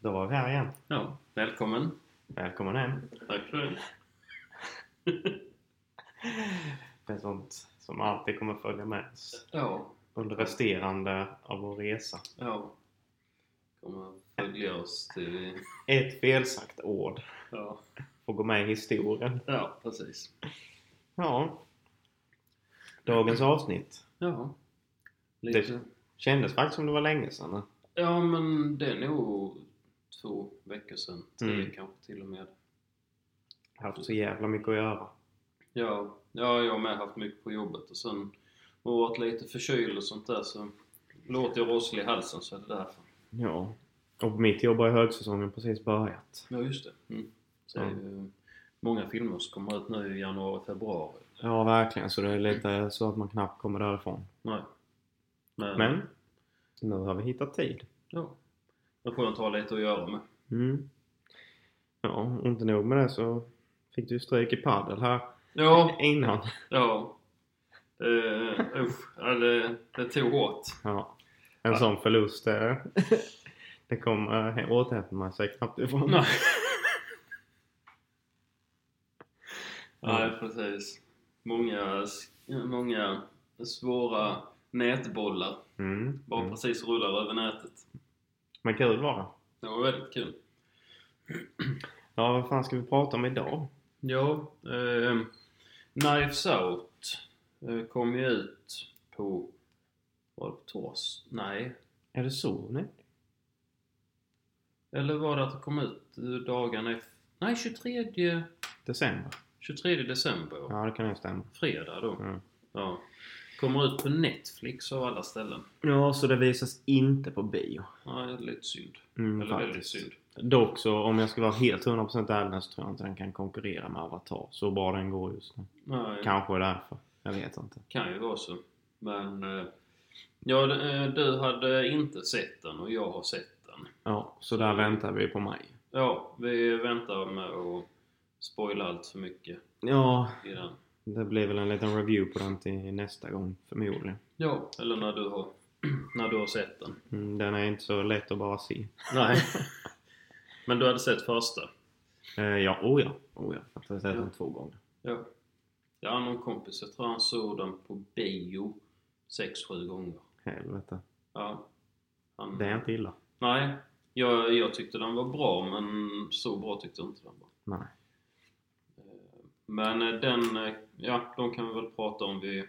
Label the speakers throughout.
Speaker 1: Då var vi här igen.
Speaker 2: Ja, välkommen.
Speaker 1: Välkommen hem.
Speaker 2: Tack för det.
Speaker 1: Det är sånt som alltid kommer följa med oss
Speaker 2: Ja,
Speaker 1: under resterande av vår resa.
Speaker 2: ja. Kommer följa oss till vi...
Speaker 1: Ett felsagt ord
Speaker 2: Ja,
Speaker 1: får gå med i historien.
Speaker 2: ja precis.
Speaker 1: Ja. Dagens avsnitt
Speaker 2: Ja. Lite.
Speaker 1: kändes faktiskt som det var länge sedan.
Speaker 2: Ja, men det är nog två veckor sedan. Tre
Speaker 1: Mm.
Speaker 2: kanske till och med.
Speaker 1: Jag har haft så jävla mycket att göra.
Speaker 2: Ja, ja jag har med haft mycket på jobbet och sen har varit lite förkyld och sånt där så låter jag rosslig i halsen så är det därför.
Speaker 1: Ja. Och mitt jobb har ju högsäsongen precis börjat.
Speaker 2: Ja, just det. Mm. Så är
Speaker 1: Ja.
Speaker 2: det ju många filmer som kommer ut nu i januari, februari.
Speaker 1: Ja, verkligen. Så det är lite så att man knappt kommer därifrån.
Speaker 2: Nej. Men,
Speaker 1: Men nu har vi hittat tid.
Speaker 2: ja. Det är skönt att ha lite att göra med.
Speaker 1: Mm. Ja, och inte nog med det så fick du stryk i padel här
Speaker 2: Ja,
Speaker 1: innan.
Speaker 2: ja. Uh, usch, ja, det, det tog hårt.
Speaker 1: Ja. En sån förlust, det, det kommer eh, återhämta man sig knappt ifrån.
Speaker 2: Nej. Nej, precis. Många, många svåra nätbollar
Speaker 1: Mm.
Speaker 2: bara
Speaker 1: Mm.
Speaker 2: precis rullar över nätet.
Speaker 1: Men kul var det.
Speaker 2: Det var väldigt kul.
Speaker 1: Ja, vad fan ska vi prata om idag?
Speaker 2: Ja, ehm, Knives Out eh, kom ju ut på... Var det på tors? Nej.
Speaker 1: Är det Sony?
Speaker 2: Eller var det att det kom ut eh, dagen efter? Nej, 23,
Speaker 1: December?
Speaker 2: 23 december.
Speaker 1: Ja, det kan ju stämma.
Speaker 2: Fredag då.
Speaker 1: Mm.
Speaker 2: Ja. Kommer ut på Netflix av alla ställen.
Speaker 1: Ja, så det visas inte på bio.
Speaker 2: Nej, det är lite synd.
Speaker 1: Mm,
Speaker 2: Eller
Speaker 1: faktiskt.
Speaker 2: väldigt synd.
Speaker 1: Dock så, om jag ska vara helt 100% ärlig så tror jag inte den kan konkurrera med Avatar. Så bra den går just nu.
Speaker 2: Nej, kan.
Speaker 1: Kanske därför. Jag vet inte.
Speaker 2: ju vara så. Men... eh, Ja, d- eh, du hade inte sett den och jag har sett den.
Speaker 1: Ja, så där väntar vi på maj.
Speaker 2: Ja, vi väntar med att spoila allt för mycket
Speaker 1: Ja,
Speaker 2: i den.
Speaker 1: det blir väl en liten review på den till nästa gång förmodligen.
Speaker 2: Ja, eller när du har, när du har sett den.
Speaker 1: Mm, den är inte så lätt att bara se.
Speaker 2: Nej. Men du hade sett första?
Speaker 1: Eh, ja, oh ja. Oh ja. Jag har sett
Speaker 2: Ja.
Speaker 1: den två gånger.
Speaker 2: Ja. Jag har någon kompis, jag tror han såg den på bio sex sju gånger.
Speaker 1: Helvete.
Speaker 2: Ja. Han,
Speaker 1: Det är inte illa.
Speaker 2: Nej, jag, jag tyckte den var bra men så bra tyckte jag inte den var.
Speaker 1: Nej.
Speaker 2: Men eh, den, eh, ja, de kan vi väl prata om vid,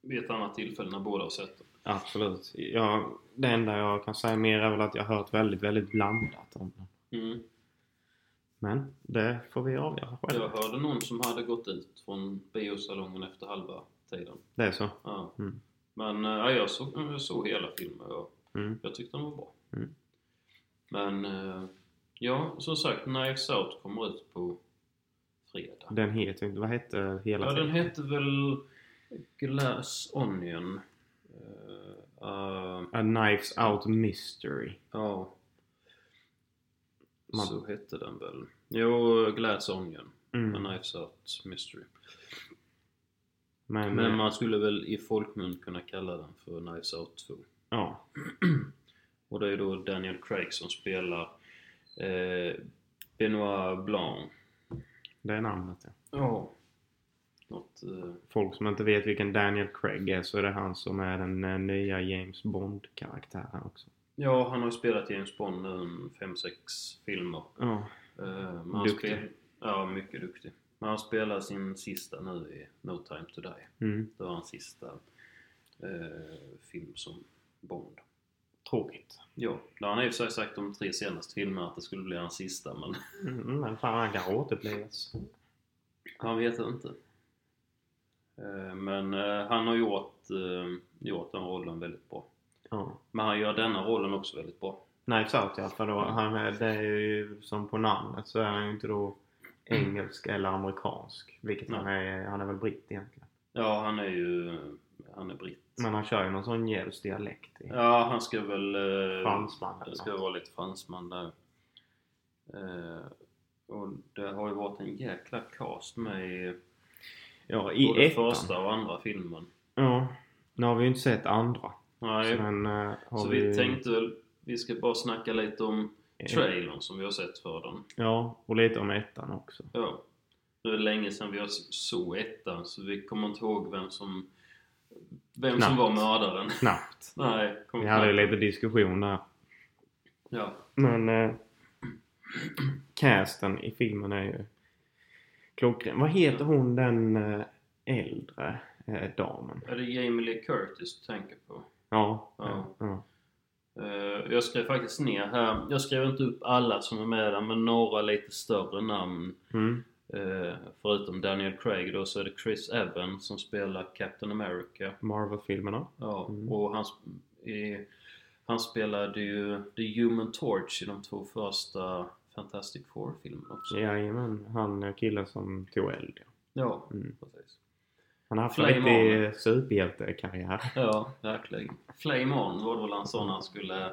Speaker 2: vid ett annat tillfälle när båda har sett den.
Speaker 1: Absolut. Jag, det enda jag kan säga mer är väl att jag har hört väldigt, väldigt blandat om den.
Speaker 2: Mm.
Speaker 1: Men det får vi avgöra själva.
Speaker 2: Jag hörde någon som hade gått ut från biosalongen efter halva tiden.
Speaker 1: Det är så.
Speaker 2: Ja.
Speaker 1: Mm.
Speaker 2: Men eh, ja, jag, såg, jag såg hela filmen och
Speaker 1: Mm.
Speaker 2: jag tyckte den var bra.
Speaker 1: Mm.
Speaker 2: Men eh, ja, som sagt, Knives Out kommer ut på fredag.
Speaker 1: Den heter ju inte... Vad hette hela
Speaker 2: Ja, den
Speaker 1: titeln?
Speaker 2: hette väl Glass Onion? Eh, eh,
Speaker 1: A Knives Out Mystery.
Speaker 2: ja,
Speaker 1: Man-
Speaker 2: så hette den väl. Jo, Glass Onion.
Speaker 1: Mm.
Speaker 2: A Knives Out Mystery.
Speaker 1: Men,
Speaker 2: Men
Speaker 1: eh,
Speaker 2: man skulle väl i folkmun kunna kalla den för Knives Out 2.
Speaker 1: ja.
Speaker 2: Och det är då Daniel Craig som spelar eh, Benoit Blanc.
Speaker 1: Det är namnet ja.
Speaker 2: Ja. Något, eh,
Speaker 1: Folk som inte vet vilken Daniel Craig är så är det han som är den eh, nya James Bond-karaktären också.
Speaker 2: ja, han har ju spelat James Bond nu en 5-6 filmer.
Speaker 1: Ja.
Speaker 2: Eh, men han
Speaker 1: Duktig.
Speaker 2: spel- ja, mycket duktig. Men han spelar sin sista nu i No Time To Die.
Speaker 1: Mm.
Speaker 2: Det var hans sista eh, film som Bond.
Speaker 1: Tråkigt.
Speaker 2: Ja, det har han i och för sig sagt om tre senaste filmer att det skulle bli hans sista men
Speaker 1: Mm, men fan, han kan återupplevas.
Speaker 2: Han vet jag inte. Eh, Men eh, han har gjort, eh, gjort den rollen väldigt bra.
Speaker 1: Ja.
Speaker 2: Men han gör denna rollen också väldigt bra.
Speaker 1: Knives Out ja, för då, han är, det är ju som på namnet så är han ju inte då engelsk eller amerikansk. Vilket han är, han är väl britt egentligen.
Speaker 2: Ja, han är ju... Han är britt.
Speaker 1: Men han kör ju någon sån djävulsk dialekt. i
Speaker 2: Ja, han ska väl... eh,
Speaker 1: Fransman eller
Speaker 2: Han ska
Speaker 1: något.
Speaker 2: vara lite fransman där. Eh, Och det har ju varit en jäkla cast med i
Speaker 1: Ja,
Speaker 2: både
Speaker 1: i ettan.
Speaker 2: första och andra filmen.
Speaker 1: Ja. Nu har vi ju inte sett andra.
Speaker 2: Nej.
Speaker 1: Sen eh, har
Speaker 2: Så
Speaker 1: vi... Eh.
Speaker 2: vi tänkte väl, vi ska bara snacka lite om trailern som vi har sett för den.
Speaker 1: Ja, och lite om ettan också.
Speaker 2: Ja. Nu är det länge sedan vi har så ettan så vi kommer inte ihåg vem som, vem som
Speaker 1: Knappt.
Speaker 2: var mördaren.
Speaker 1: Knappt.
Speaker 2: Nej, kommer
Speaker 1: Vi hade ju
Speaker 2: knappt.
Speaker 1: lite diskussion där.
Speaker 2: Ja.
Speaker 1: Men eh, casten i filmen är ju klockren. Vad heter hon den eh, äldre eh, damen?
Speaker 2: Är det Jamie Lee Curtis du tänker på?
Speaker 1: Ja.
Speaker 2: Ja.
Speaker 1: ja.
Speaker 2: Eh, Jag skrev faktiskt ner här, jag skrev inte upp alla som är med där men några lite större namn.
Speaker 1: Mm.
Speaker 2: Eh, Förutom Daniel Craig då så är det Chris Evans som spelar Captain America.
Speaker 1: Marvel-filmerna.
Speaker 2: Ja,
Speaker 1: Mm.
Speaker 2: och han, sp- i, han spelade ju The Human Torch i de två första Fantastic Four-filmerna också.
Speaker 1: Jajamän, han är killen som tog eld. ja.
Speaker 2: Ja,
Speaker 1: Mm.
Speaker 2: precis.
Speaker 1: Han har haft en
Speaker 2: Flame
Speaker 1: riktig superhjältekarriär.
Speaker 2: Ja, verkligen. Flame On var det väl han sa när han skulle...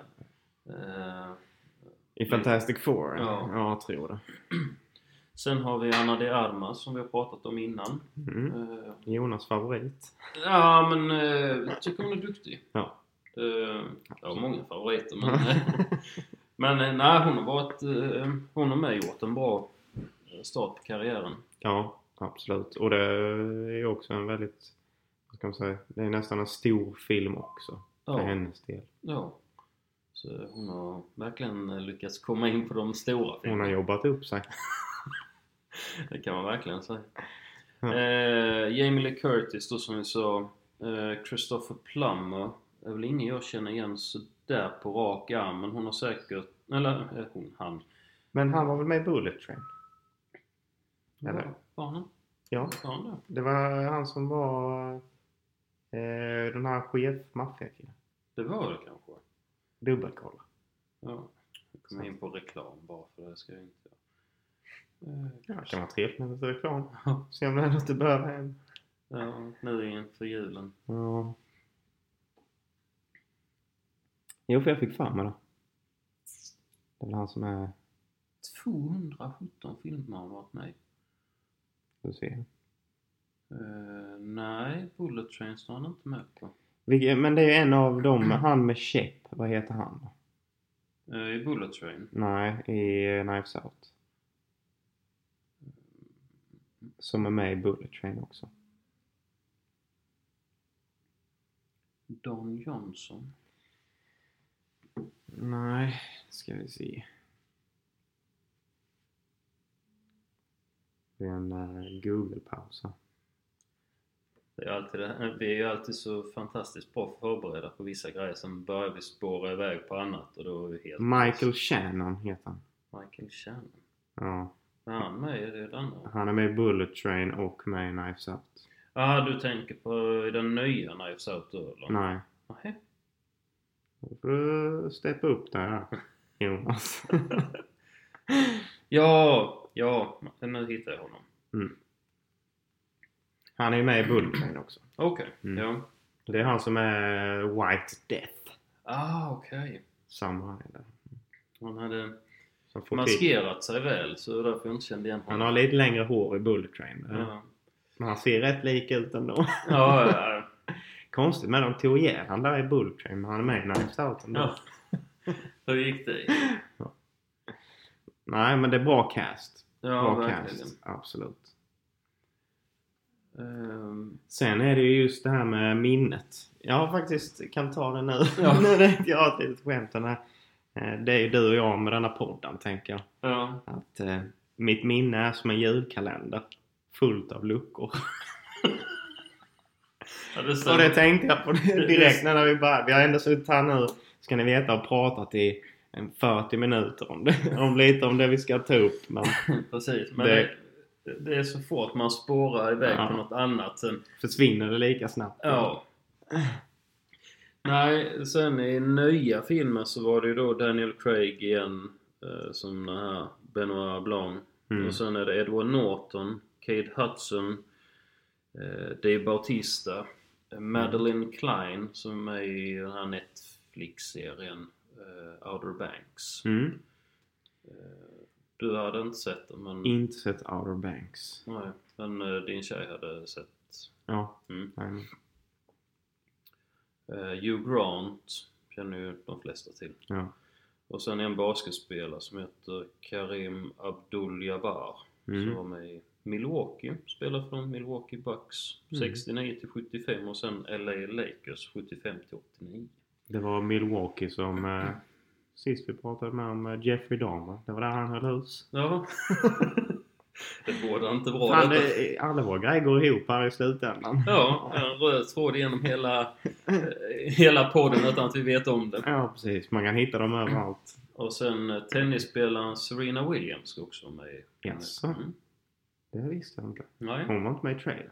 Speaker 2: Eh,
Speaker 1: I Fantastic Four?
Speaker 2: Ja.
Speaker 1: ja jag tror det.
Speaker 2: sen har vi Anna de Armas som vi har pratat om innan.
Speaker 1: Mm.
Speaker 2: Eh,
Speaker 1: Jonas favorit.
Speaker 2: ja, men eh, jag tycker hon är duktig.
Speaker 1: Ja.
Speaker 2: Eh, jag har många favoriter men... eh, men eh, nej, hon har varit... Eh, hon har med gjort en bra eh, start på karriären.
Speaker 1: Ja, absolut. Och det är också en väldigt, vad ska man säga, det är nästan en stor film också. För
Speaker 2: Ja.
Speaker 1: hennes del.
Speaker 2: Ja. Så hon har verkligen eh, lyckats komma in på de stora
Speaker 1: Hon har
Speaker 2: filmerna.
Speaker 1: jobbat upp sig.
Speaker 2: Det kan man verkligen säga.
Speaker 1: Ja.
Speaker 2: Eh, Jamie Lee Curtis då som vi sa. Eh, Christopher Plummer är väl ingen jag känner igen sådär på rak arm men hon har säkert... Eller eh, hon, han.
Speaker 1: Men han var väl med i Bullet Train? Eller?
Speaker 2: Var- Var han
Speaker 1: Ja,
Speaker 2: var han det?
Speaker 1: det var han som var eh, den här chef maffiakillen.
Speaker 2: Det var det kanske.
Speaker 1: Dubbelkolla.
Speaker 2: Ja. Jag kommer in på reklam bara för det ska jag inte göra. Eh,
Speaker 1: Ja, det kan vara trevligt med lite reklam.
Speaker 2: Ja.
Speaker 1: Se om det är något du behöver hem.
Speaker 2: ja, nu inför julen.
Speaker 1: Ja. Jo, för jag fick för mig det. Det är väl han som är...
Speaker 2: 217 filmer har han varit med i.
Speaker 1: Du ser.
Speaker 2: Eh, nej, Bullet Train står han inte med på.
Speaker 1: Vilke- Men det är ju en av dem, han med käpp. Vad heter han? då?
Speaker 2: Eh, I Bullet Train?
Speaker 1: Nej, i eh, Knives Out. Som är med i Bullet Train också.
Speaker 2: Don Johnson?
Speaker 1: Nej, ska vi se. Det är en eh, Google-paus här.
Speaker 2: Det är alltid det, eh, vi är ju alltid så fantastiskt bra förberedda på vissa grejer, sen börjar vi spåra iväg på annat och då är vi helt...
Speaker 1: Michael Shannon heter han.
Speaker 2: Michael Shannon?
Speaker 1: Ja,
Speaker 2: Är han med i det andra?
Speaker 1: han är med i Bullet Train och med i Knives Out.
Speaker 2: Ah, du tänker på den nya Knives Out då eller?
Speaker 1: Nej,
Speaker 2: Nej.
Speaker 1: du får steppa upp där Jonas.
Speaker 2: Ja, ja, nu hittar jag honom.
Speaker 1: Han är ju med i Bullet Train också.
Speaker 2: Okej,
Speaker 1: Mm.
Speaker 2: ja.
Speaker 1: Det är han som är White Death.
Speaker 2: Ah, okej.
Speaker 1: Samma där.
Speaker 2: Han hade
Speaker 1: Som får kick.
Speaker 2: maskerat sig väl, så det var därför jag inte kände igen
Speaker 1: Han
Speaker 2: honom.
Speaker 1: har lite längre hår i Bullet Train.
Speaker 2: Ja,
Speaker 1: Men han ser rätt lik ut ändå.
Speaker 2: ja, ja. ja.
Speaker 1: Konstigt men de tog ihjäl han där i Bullet Train men han är med i Knives Out ändå.
Speaker 2: Ja. Hur gick det?
Speaker 1: Nej men det är bra cast.
Speaker 2: Ja,
Speaker 1: Bra
Speaker 2: verkligen.
Speaker 1: cast. Absolut.
Speaker 2: Ehm,
Speaker 1: Sen är det ju just det här med minnet. Jag faktiskt kan ta det nu.
Speaker 2: Ja.
Speaker 1: nu tänkte jag ha ett litet skämt. Den här. Eh, Det är ju du och jag med denna podden tänker jag.
Speaker 2: ja.
Speaker 1: Att eh, mitt minne är som en julkalender. Fullt av luckor.
Speaker 2: ja det
Speaker 1: Och det
Speaker 2: stämmer.
Speaker 1: tänkte jag på det direkt när vi började. Vi har ändå suttit här nu, ska ni veta, och pratat i en 40 minuter om, det, om lite om det vi ska ta upp. Men
Speaker 2: Precis. Men
Speaker 1: Det-
Speaker 2: det... det är så fort man spårar iväg
Speaker 1: Ja.
Speaker 2: på något annat sen.
Speaker 1: försvinner det lika snabbt?
Speaker 2: Ja. Nej, sen i nya filmer så var det ju då Daniel Craig igen eh, som den här Benoit Blanc.
Speaker 1: Mm.
Speaker 2: Och sen är det Edward Norton, Kate Hudson, eh, Dave Bautista, eh, Madeleine Klein som är med i den här Netflix-serien eh, Outer Banks. Eh,
Speaker 1: Mm.
Speaker 2: Du hade inte sett den men...
Speaker 1: Inte sett Outer Banks.
Speaker 2: Nej, men eh, din tjej hade sett.
Speaker 1: Ja.
Speaker 2: Mm.
Speaker 1: nej.
Speaker 2: Eh, Hugh Grant känner ju de flesta till.
Speaker 1: Ja.
Speaker 2: Och sen en basketspelare som heter Karim Abdul-Jabbar
Speaker 1: Mm.
Speaker 2: som var med i Milwaukee, spelade för de Milwaukee Bucks
Speaker 1: Mm.
Speaker 2: 69 till 75 och sen LA Lakers 75 till 89.
Speaker 1: Det var Milwaukee som eh, sist vi pratade med om eh, Jeffrey Dahmer. Det var där han höll hus.
Speaker 2: Ja. det bådar inte bra
Speaker 1: Fan,
Speaker 2: detta.
Speaker 1: det, alla våra grejer går ihop här i slutändan.
Speaker 2: Ja, en röd tråd genom hela, eh, hela podden utan att vi vet om det.
Speaker 1: Ja, precis. Man kan hitta dem överallt.
Speaker 2: Och sen eh, tennisspelaren Serena Williams ska också vara med i-
Speaker 1: Jaså?
Speaker 2: Mm.
Speaker 1: Det visste jag inte.
Speaker 2: Nej,
Speaker 1: Hon var inte med i trailern.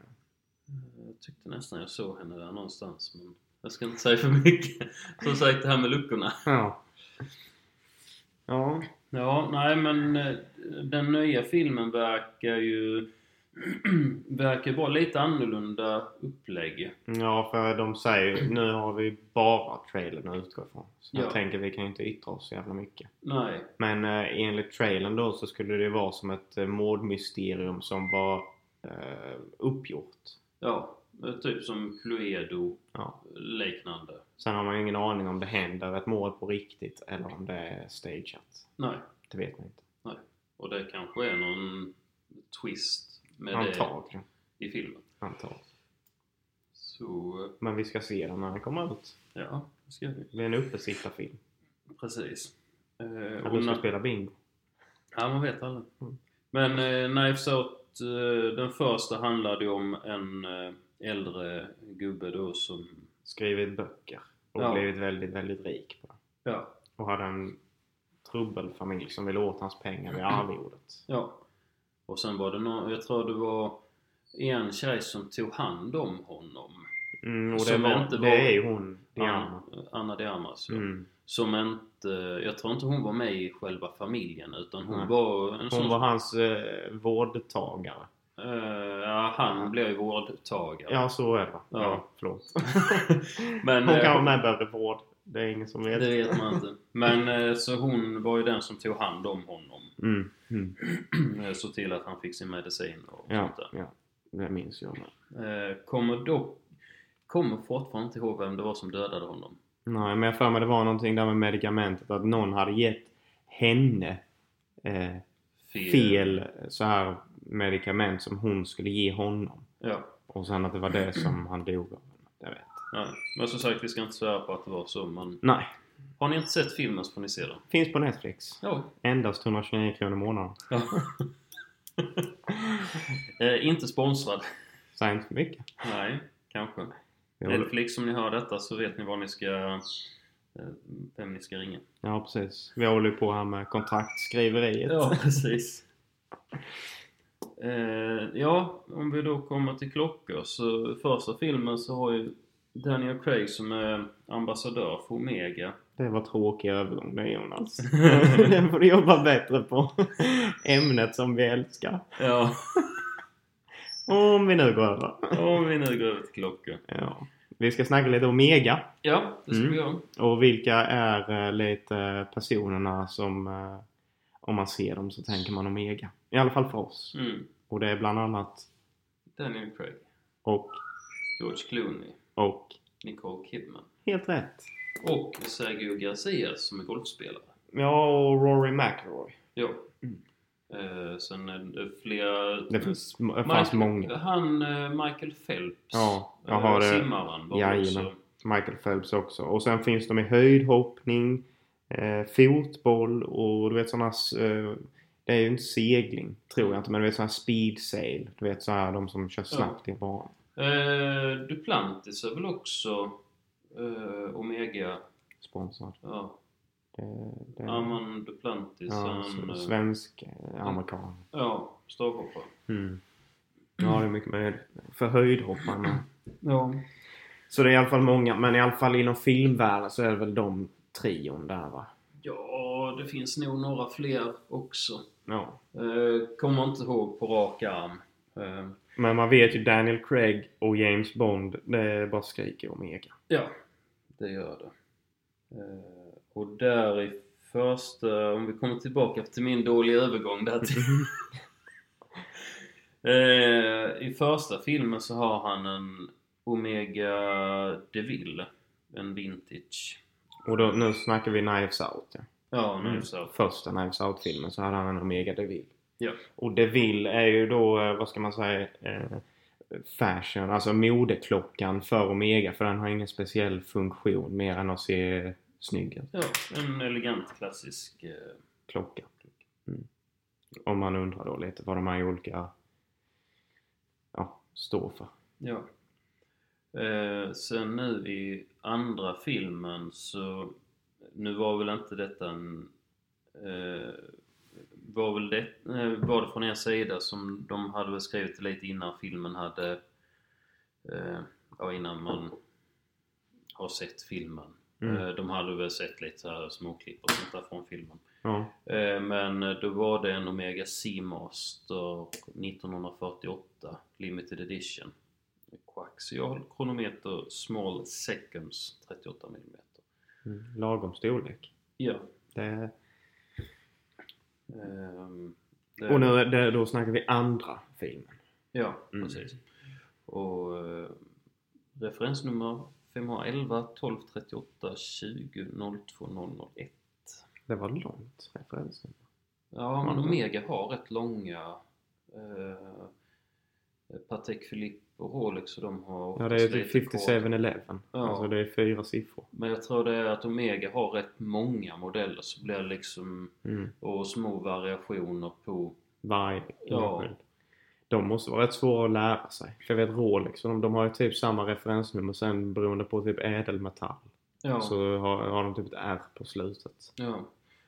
Speaker 2: jag tyckte nästan jag såg henne där någonstans men jag ska inte säga för mycket. Som sagt, det här med luckorna.
Speaker 1: Ja. Ja.
Speaker 2: Ja, nej men eh, den nya filmen verkar ju verkar vara lite annorlunda upplägg.
Speaker 1: Ja, för de säger ju nu har vi bara trailern att utgå ifrån. Så
Speaker 2: Ja.
Speaker 1: jag tänker vi kan ju inte yttra oss så jävla mycket.
Speaker 2: Nej,
Speaker 1: Men eh, enligt trailern då så skulle det vara som ett eh, mordmysterium som var eh, uppgjort.
Speaker 2: ja, typ som Cluedo
Speaker 1: Ja.
Speaker 2: liknande.
Speaker 1: Sen har man ju ingen aning om det händer ett mord på riktigt eller om det är stageat.
Speaker 2: Nej,
Speaker 1: Det vet man inte.
Speaker 2: och det kanske är någon twist med
Speaker 1: Antagligen.
Speaker 2: det i filmen.
Speaker 1: Antagligen.
Speaker 2: Så, eh,
Speaker 1: Men vi ska se den när den kommer ut.
Speaker 2: ja, det ska vi.
Speaker 1: Det är en uppesittarfilm.
Speaker 2: Precis. Eh,
Speaker 1: Där
Speaker 2: och
Speaker 1: du ska
Speaker 2: na-
Speaker 1: spela bingo.
Speaker 2: Ja, man vet aldrig.
Speaker 1: Mm.
Speaker 2: Men eh, Knives Out, eh, den första handlade ju om en eh, äldre gubbe då som,
Speaker 1: Skrivit böcker. Och
Speaker 2: Ja.
Speaker 1: blivit väldigt, väldigt rik på det.
Speaker 2: ja,
Speaker 1: Och hade en trubbelfamilj som ville åt hans pengar vid arvodet.
Speaker 2: ja. Och sen var det någon, jag tror det var en tjej som tog hand om honom.
Speaker 1: Mm, och det,
Speaker 2: Som
Speaker 1: var,
Speaker 2: inte
Speaker 1: det
Speaker 2: var-
Speaker 1: är ju hon, Diana.
Speaker 2: Anna, eh, Anna Diamas, ja.
Speaker 1: Mm.
Speaker 2: Som inte, jag tror inte hon var med i själva familjen utan hon
Speaker 1: Nej.
Speaker 2: var en sån...
Speaker 1: Hon var hans eh, vårdtagare.
Speaker 2: eh, ja, han blev ju vårdtagare.
Speaker 1: Ja, så är det.
Speaker 2: Ja.
Speaker 1: Ja, förlåt.
Speaker 2: Men,
Speaker 1: hon
Speaker 2: eh,
Speaker 1: kan vara med behöver vård. Det är ingen som vet.
Speaker 2: Det vet man inte. Men eh, så hon var ju den som tog hand om honom.
Speaker 1: Mm. Mm.
Speaker 2: Eh, Såg till att han fick sin medicin och
Speaker 1: Ja,
Speaker 2: sånt där.
Speaker 1: ja. Det minns jag med.
Speaker 2: Eh, Kommer dock... Kommer fortfarande inte ihåg vem det var som dödade honom.
Speaker 1: Nej, men jag för mig det var någonting där med medicamentet. Att någon hade gett henne eh, fel så här medicament som hon skulle ge honom.
Speaker 2: Ja.
Speaker 1: Och sen att det var det som han dog av. Jag vet.
Speaker 2: Nej. Men som sagt, vi ska inte svära på att det var så. Men
Speaker 1: Nej.
Speaker 2: har ni inte sett filmen så får ni se den.
Speaker 1: Finns på Netflix.
Speaker 2: Ja.
Speaker 1: Endast 129 kronor i månaden.
Speaker 2: eh, inte sponsrad.
Speaker 1: Säg inte för mycket.
Speaker 2: Nej, kanske.
Speaker 1: Jo.
Speaker 2: Netflix, om ni hör detta så vet ni vad ni ska... eh, Vem ni ska ringa.
Speaker 1: Ja, precis. Vi håller ju på här med kontraktskriveriet.
Speaker 2: Ja, precis. Eh, ja, om vi då kommer till klockor så i första filmen så har ju Daniel Craig som är ambassadör för Omega.
Speaker 1: Det var tråkig övergång det Jonas. Den får du jobba bättre på. Ämnet som vi älskar.
Speaker 2: Ja,
Speaker 1: Om vi nu går över.
Speaker 2: om vi nu går över till klockor.
Speaker 1: Ja. Vi ska snacka lite om Mega
Speaker 2: Ja, det ska
Speaker 1: Mm.
Speaker 2: vi göra.
Speaker 1: och vilka är eh, lite personerna som eh, om man ser dem så tänker man om Mega. I alla fall för oss.
Speaker 2: Mm.
Speaker 1: Och det är bland annat
Speaker 2: Daniel Craig,
Speaker 1: och,
Speaker 2: George Clooney,
Speaker 1: och,
Speaker 2: Nicole Kidman
Speaker 1: helt rätt.
Speaker 2: och Sergio Garcia som är golfspelare.
Speaker 1: Ja, och Rory McIlroy.
Speaker 2: Ja.
Speaker 1: Mm.
Speaker 2: Eh, sen är det flera...
Speaker 1: Det finns, det fanns
Speaker 2: Mm. Michael-
Speaker 1: många.
Speaker 2: Han, eh, Michael Phelps,
Speaker 1: Ja, jag
Speaker 2: eh,
Speaker 1: har det.
Speaker 2: simmaren, var
Speaker 1: Jajamän.
Speaker 2: också
Speaker 1: Michael Phelps också. Och sen finns de i höjdhoppning, eh, fotboll och du vet sådana... Eh, det är ju inte segling, tror jag inte, men du vet sådana speed sail. Du vet så här de som kör snabbt i banan.
Speaker 2: Eh, Duplantis är väl också eh, Omega?
Speaker 1: Sponsrad.
Speaker 2: Ja,
Speaker 1: Det, det,
Speaker 2: Armand Duplantis.
Speaker 1: Mm. ja,
Speaker 2: han,
Speaker 1: s-
Speaker 2: eh,
Speaker 1: svensk eh, amerikan.
Speaker 2: ja, stavhoppare.
Speaker 1: Mm. Ja, det är mycket möjligt. För höjdhopparna.
Speaker 2: Ja.
Speaker 1: Så det är i alla fall många, men i alla fall inom filmvärlden så är det väl de trion där va?
Speaker 2: ja, det finns nog några fler också.
Speaker 1: Ja.
Speaker 2: Eh, kommer inte ihåg på rak arm. Eh,
Speaker 1: Men man vet ju Daniel Craig och James Bond, det bara skriker Omega.
Speaker 2: ja, det gör det. Eh, och där i första, om vi kommer tillbaka till min dåliga övergång där till Eh, I första filmen så har han en Omega Deville. En vintage.
Speaker 1: Och då, nu snackar vi Knives Out ja.
Speaker 2: Ja, nu
Speaker 1: Mm.
Speaker 2: så.
Speaker 1: Första Knives Out-filmen så hade han en Omega DeVille.
Speaker 2: Ja.
Speaker 1: Och DeVille är ju då, eh, vad ska man säga, eh, fashion, alltså modeklockan för Omega. För den har ingen speciell funktion mer än att se snygg ut.
Speaker 2: ja, en elegant klassisk eh,
Speaker 1: Klocka. Mm. Om man undrar då lite vad de här olika ja, står för.
Speaker 2: Ja. Eh, sen nu i andra filmen så... Nu var väl inte detta en... Eh, var väl det, eh, var det från er sida som de hade väl skrivit lite innan filmen hade... Eh, ja, innan man har sett filmen.
Speaker 1: Mm.
Speaker 2: Eh, de hade väl sett lite så här småklipp och sånt där från filmen.
Speaker 1: Ja.
Speaker 2: Eh, Men då var det en Omega Seamaster 1948 Limited Edition Coaxial kronometer Small Seconds 38 mm
Speaker 1: Mm. Lagom storlek.
Speaker 2: Ja
Speaker 1: Det...
Speaker 2: ehm,
Speaker 1: Och nu, är det, då snackar vi andra filmen.
Speaker 2: Ja,
Speaker 1: Mm.
Speaker 2: precis Och eh, referensnummer 511 12 38 20 02 001
Speaker 1: Det var långt referensen.
Speaker 2: Ja, men
Speaker 1: Mm.
Speaker 2: Omega har rätt långa eh, Patek Philippe och Rolex och de har
Speaker 1: Ja, det är typ
Speaker 2: lite kod.
Speaker 1: 5711.
Speaker 2: Ja.
Speaker 1: Alltså det är fyra siffror.
Speaker 2: Men jag tror det är att Omega har rätt många modeller så blir det liksom
Speaker 1: Mm.
Speaker 2: och små variationer på
Speaker 1: Varje
Speaker 2: Ja.
Speaker 1: enskild. De måste vara rätt svåra att lära sig. För jag vet Rolex, de, de har ju typ samma referensnummer sen beroende på typ ädelmetall.
Speaker 2: ja,
Speaker 1: Så har, har de typ ett R på slutet.
Speaker 2: ja.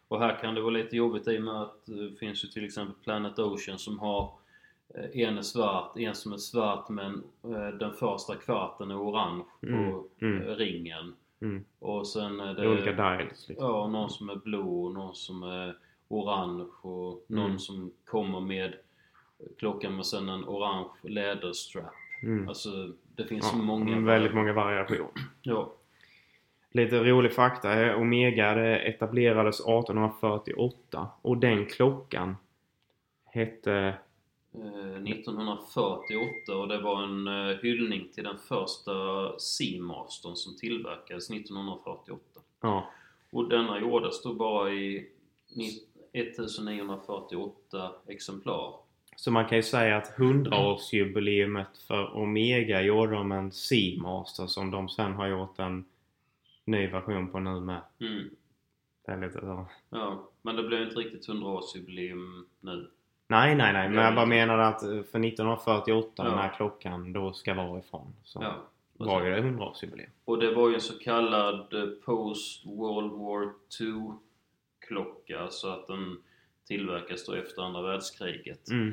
Speaker 2: Och här kan det vara lite jobbigt i och med att det finns ju till exempel Planet Ocean som har eh, en är svart, en som är svart men eh, den första kvarten är orange på
Speaker 1: Mm, mm.
Speaker 2: eh, ringen.
Speaker 1: Mm.
Speaker 2: Och sen är
Speaker 1: Det
Speaker 2: det
Speaker 1: är olika dials liksom.
Speaker 2: Eh, Ja, och någon som är blå och någon som är orange och någon
Speaker 1: Mm.
Speaker 2: som kommer med klockan med sen en orange läderstrap.
Speaker 1: Mm.
Speaker 2: Alltså det finns
Speaker 1: Ja, mm,
Speaker 2: så många.
Speaker 1: Väldigt många variationer.
Speaker 2: Ja.
Speaker 1: Lite rolig fakta är Omega det etablerades 1848 och den klockan hette...
Speaker 2: Eh, 1948 och det var en eh, hyllning till den första Seamastern som tillverkades 1948.
Speaker 1: Ja,
Speaker 2: Och denna gjordes då bara i ni- 1948 exemplar.
Speaker 1: så man kan ju säga att 100-årsjubileumet för Omega gjorde de en Seamaster som de sen har gjort en ny version på nu med.
Speaker 2: Mm.
Speaker 1: Det är lite så.
Speaker 2: Ja, men det blev inte riktigt 100-årsjubileum nu.
Speaker 1: Nej, nej, nej. Men jag bara menade att eh, för 1948, den här
Speaker 2: Ja.
Speaker 1: klockan då ska vara ifrån, så
Speaker 2: Ja.
Speaker 1: var ju det 100-årsjubileum.
Speaker 2: Och det var ju en så kallad eh, Post World War II klocka så att den tillverkas då efter andra världskriget.
Speaker 1: Mm.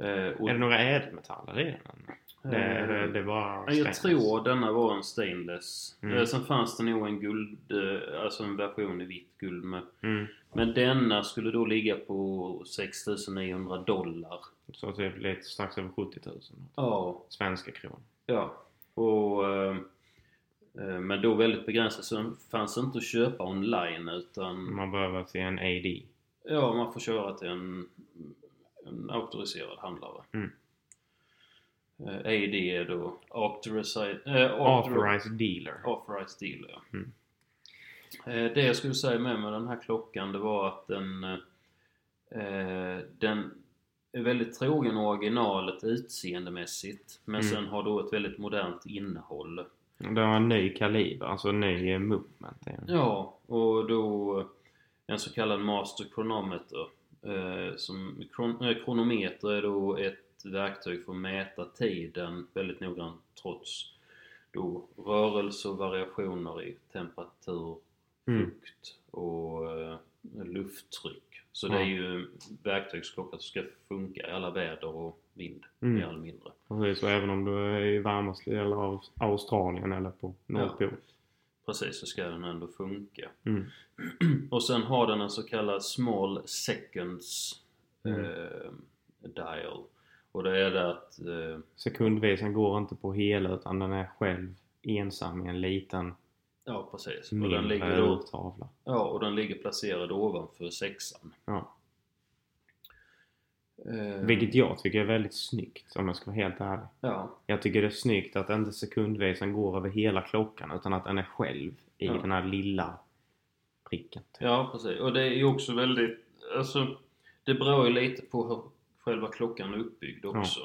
Speaker 2: Eh, och,
Speaker 1: Är det några ädelmetaller i den? Det, det, det var
Speaker 2: Eh, Ja, jag tror denna var en stainless.
Speaker 1: Mm.
Speaker 2: Eh, sen fanns det nog en guld, eh, alltså en version i vitt guld med.
Speaker 1: Mm.
Speaker 2: Men denna skulle då ligga på 6900 dollar.
Speaker 1: Så typ lite strax över 70 000
Speaker 2: Ja.
Speaker 1: svenska kronor.
Speaker 2: Ja. Och, eh, eh, men då väldigt begränsat så den fanns inte att köpa online utan
Speaker 1: Man behöver se en AD.
Speaker 2: Ja, man får köra till en, en auktoriserad handlare.
Speaker 1: Mm.
Speaker 2: Eh, AD är då authorized, eh, authorized.
Speaker 1: Authorized dealer.
Speaker 2: authorized dealer. ja.
Speaker 1: Mm.
Speaker 2: Eh, det jag skulle säga med, med den här klockan det var att den, eh, den är väldigt trogen originalet utseendemässigt men
Speaker 1: Mm.
Speaker 2: sen har då ett väldigt modernt innehåll.
Speaker 1: Det var en ny kaliber, alltså en ny eh, movement. är det.
Speaker 2: Ja, och då en så kallad master chronometer. Eh, som, kron, eh, kronometer är då ett verktyg för att mäta tiden väldigt noggrant trots då rörelse och variationer i temperatur,
Speaker 1: Mm.
Speaker 2: fukt och eh, lufttryck. Så det är
Speaker 1: Ja.
Speaker 2: ju verktygsklocka som ska funka i alla väder och vind,
Speaker 1: Mm.
Speaker 2: mer eller mindre.
Speaker 1: Precis, och även om du är i varmaste eller av Australien eller på Nordpol.
Speaker 2: Precis, så ska den ändå funka.
Speaker 1: Mm.
Speaker 2: Och sen har den en så kallad small seconds
Speaker 1: Mm.
Speaker 2: eh, dial. Och det är det att... Eh,
Speaker 1: Sekundvisan går inte på hela utan den är själv ensam i en liten
Speaker 2: ja, precis. Och den,
Speaker 1: mindre
Speaker 2: ligger då,
Speaker 1: urtavla.
Speaker 2: ja, och den ligger placerad ovanför sexan.
Speaker 1: Ja.
Speaker 2: Eh,
Speaker 1: Vilket jag tycker är väldigt snyggt om jag ska vara helt ärlig.
Speaker 2: Ja,
Speaker 1: Jag tycker det är snyggt att inte sekundvisan går över hela klockan utan att den är själv i
Speaker 2: Ja.
Speaker 1: den här lilla pricken. typ.
Speaker 2: ja precis. Och det är ju också väldigt... Alltså, det beror ju lite på hur själva klockan är uppbyggd också.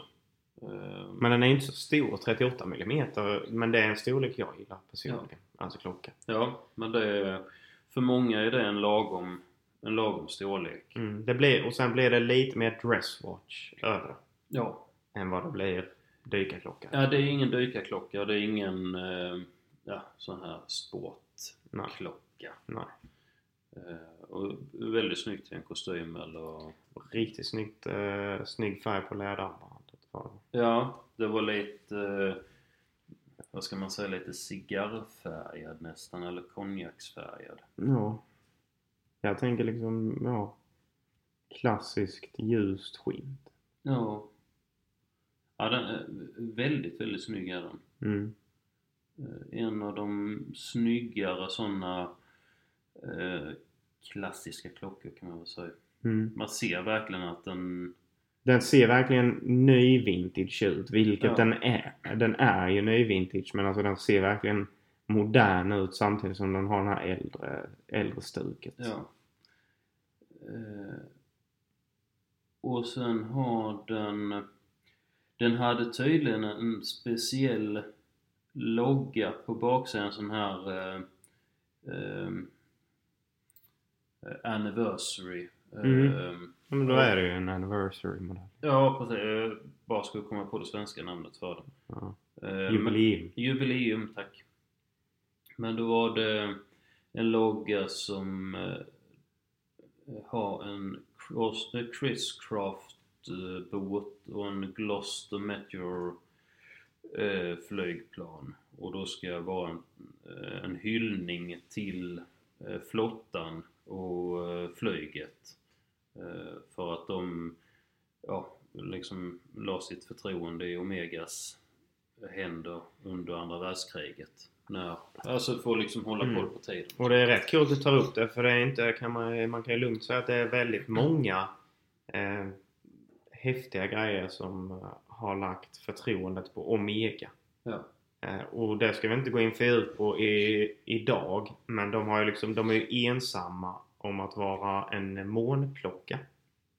Speaker 2: Eh,
Speaker 1: Men den är inte så stor, 38 mm, men det är en storlek jag gillar personligen. Alltså klockan.
Speaker 2: Ja, men det är, för många är det en lagom, en lagom storlek.
Speaker 1: Mm, det blir, och sen blir det lite mer dresswatch över
Speaker 2: Ja.
Speaker 1: än vad det blir dykarklocka.
Speaker 2: ja, det är ingen dykarklocka, det är ingen eh, ja, sån här
Speaker 1: Nej.
Speaker 2: sportklocka.
Speaker 1: Nej.
Speaker 2: Eh, och väldigt snyggt i en kostym eller...
Speaker 1: Riktigt snyggt, eh, snygg färg på läderarmbandet. var det.
Speaker 2: Ja, det var lite, eh, vad ska man säga, lite cigarrfärgad nästan, eller konjaksfärgad.
Speaker 1: Ja. Jag tänker liksom, ja. Klassiskt ljust skinn.
Speaker 2: Ja. Ja, den är väldigt, väldigt snygg är den.
Speaker 1: Mm.
Speaker 2: Eh, En av de snyggare sådana eh, klassiska klockor kan man väl säga.
Speaker 1: Mm.
Speaker 2: Man ser verkligen att den...
Speaker 1: Den ser verkligen nyvintage ut, vilket
Speaker 2: Ja.
Speaker 1: den är. Den är ju nyvintage, men alltså den ser verkligen modern ut samtidigt som den har den här äldre, äldre stuket.
Speaker 2: Ja. Eh, och sen har den... Den hade tydligen en speciell logga på baksidan, sån här eh, eh, anniversary.
Speaker 1: Mm.
Speaker 2: Eh,
Speaker 1: Ja, Men då är det ju en anniversary modell.
Speaker 2: ja, precis. Jag bara skulle komma på det svenska namnet för den.
Speaker 1: Ja.
Speaker 2: Eh, men-
Speaker 1: Jubileum.
Speaker 2: Jubileum, tack. Men då var det en logga som eh, har en cross, eh, Chris Craft eh, båt och en Gloucester Meteor eh, flygplan. Och då ska det vara en, eh, en hyllning till eh, flottan och eh, flyget. Eh, för att de ja, liksom la sitt förtroende i Omegas händer under andra världskriget. När, alltså för att liksom hålla
Speaker 1: Mm.
Speaker 2: koll på tiden.
Speaker 1: Och det är rätt kul att du tar upp det för det är inte, kan man, man kan ju lugnt säga att det är väldigt många eh, häftiga grejer som eh, har lagt förtroendet på Omega.
Speaker 2: Ja.
Speaker 1: Eh, och det ska vi inte gå in för djupt på i, idag men de, har ju liksom, de är ju ensamma om att vara en månklocka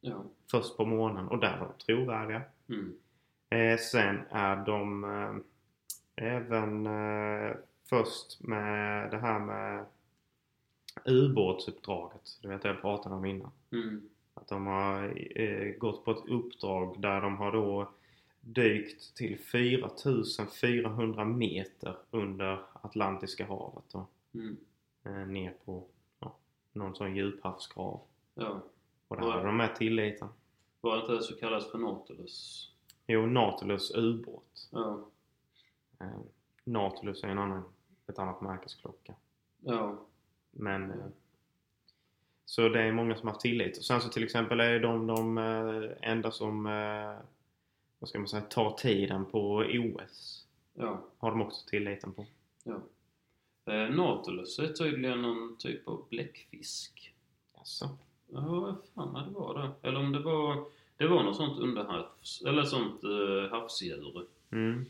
Speaker 2: ja.
Speaker 1: först på månen och där var de trovärdiga.
Speaker 2: Mm.
Speaker 1: Eh, sen är de eh, även eh, först med det här med ubåtsuppdraget. Det vet jag jag pratade om innan.
Speaker 2: Mm.
Speaker 1: Att de har eh, gått på ett uppdrag där de har då dykt till 4400 meter under Atlantiska havet. Då,
Speaker 2: Mm.
Speaker 1: eh, ner på ja, någon sån djuphavsgrav.
Speaker 2: Ja.
Speaker 1: Och där hade de med tilliten.
Speaker 2: Var det inte det så kallas för Nautilus?
Speaker 1: Jo, Nautilus ubåt.
Speaker 2: Ja.
Speaker 1: Eh, Nautilus är en annan, ett annat märkesklocka.
Speaker 2: Ja.
Speaker 1: Men, eh, så det är många som har haft tillit. Och sen så till exempel är de de eh, enda som eh, vad ska man säga, tar tiden på OS.
Speaker 2: Ja.
Speaker 1: Har de också tilliten på.
Speaker 2: ja. Eh, Nautilus är tydligen någon typ av bläckfisk.
Speaker 1: Jaså?
Speaker 2: Ja, vad fan vad det var det? Eller om det var... Det var något sånt underhavs... Eller sånt eh, havsdjur.
Speaker 1: Mm.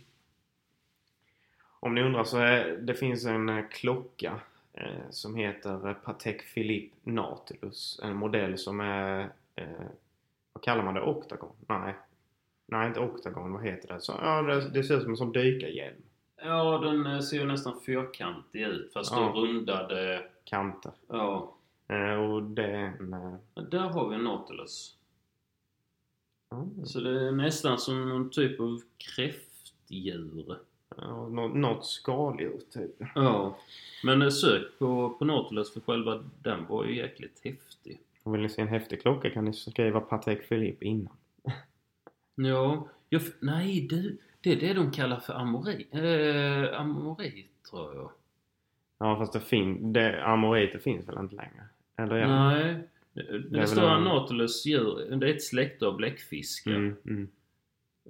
Speaker 1: Om ni undrar så är, det finns en eh, klocka eh, som heter eh, Patek Philippe Nautilus. En modell som är, eh, vad kallar man det, oktagon? Nej. Nej, inte oktagon, vad heter det? Så, ja, det, det ser ut som en sån dykarhjälm.
Speaker 2: Ja, den eh, ser ju nästan fyrkantig ut fast
Speaker 1: Ja.
Speaker 2: då rundade...
Speaker 1: Kanter.
Speaker 2: Ja.
Speaker 1: Eh, och det är en... Eh,
Speaker 2: Men Där har vi en Nautilus.
Speaker 1: mm,
Speaker 2: Så det är nästan som någon typ av kräftdjur.
Speaker 1: ja, nå- något skaldjur typ.
Speaker 2: Ja, men eh, sök på, på Nautilus för själva den var ju jäkligt häftig.
Speaker 1: Och Vill ni se en häftig klocka kan ni skriva Patek Philippe innan.
Speaker 2: Ja, jag, f- nej du, det är det de kallar för amori, eh, amori tror jag.
Speaker 1: Ja, fast det fin- det, Amoriter finns väl inte längre? Eller ja.
Speaker 2: Nej, det,
Speaker 1: är
Speaker 2: det
Speaker 1: väl
Speaker 2: stora
Speaker 1: en-
Speaker 2: Nautilus djur, det är ett släkte av bläckfiskar.
Speaker 1: Mm, mm.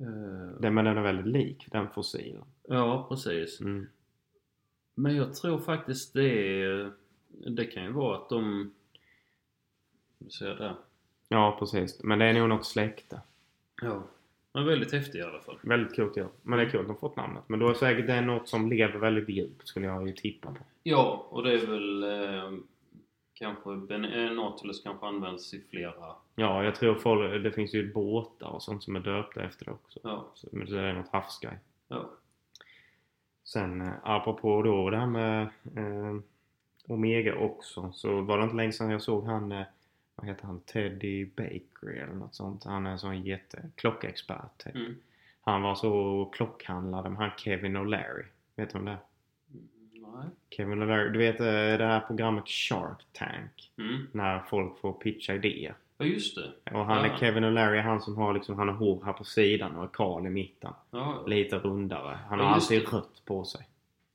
Speaker 2: Eh,
Speaker 1: Den, men den är väldigt lik den fossilen.
Speaker 2: ja, precis.
Speaker 1: Mm.
Speaker 2: Men jag tror faktiskt det är, det kan ju vara att de, ser där.
Speaker 1: Ja, precis. Men det är nog något släkte.
Speaker 2: Ja. Men väldigt häftig i alla fall.
Speaker 1: Väldigt coolt ja. Men det är kul att de fått namnet. Men då är säkert det något som lever väldigt djupt skulle jag ju tippa på.
Speaker 2: Ja, och det är väl eh, kanske ben- eh, Nautilus kanske används i flera...
Speaker 1: Ja, jag tror folk, det finns ju båtar och sånt som är döpta efter det också.
Speaker 2: Ja,
Speaker 1: Så, men det är något havsgrej.
Speaker 2: ja.
Speaker 1: Sen eh, apropå då det här med eh, Omega också så var det inte länge sedan jag såg han eh, vad heter han? Teddy Baker eller något sånt. Han är en sån jätte klockexpert typ.
Speaker 2: Mm.
Speaker 1: Han var så klockhandlade med han Kevin O'Leary. Vet du om det är?
Speaker 2: Mm, Nej.
Speaker 1: Kevin O'Leary. Du vet eh, det här programmet Shark Tank.
Speaker 2: Mm.
Speaker 1: När folk får pitcha idéer.
Speaker 2: Ja, just det.
Speaker 1: Och han
Speaker 2: Ja.
Speaker 1: är Kevin O'Leary han som har liksom, han har hår här på sidan och är kal i mitten.
Speaker 2: Ja,
Speaker 1: Lite rundare. Han har
Speaker 2: Ja, just
Speaker 1: alltid
Speaker 2: det.
Speaker 1: rött på sig.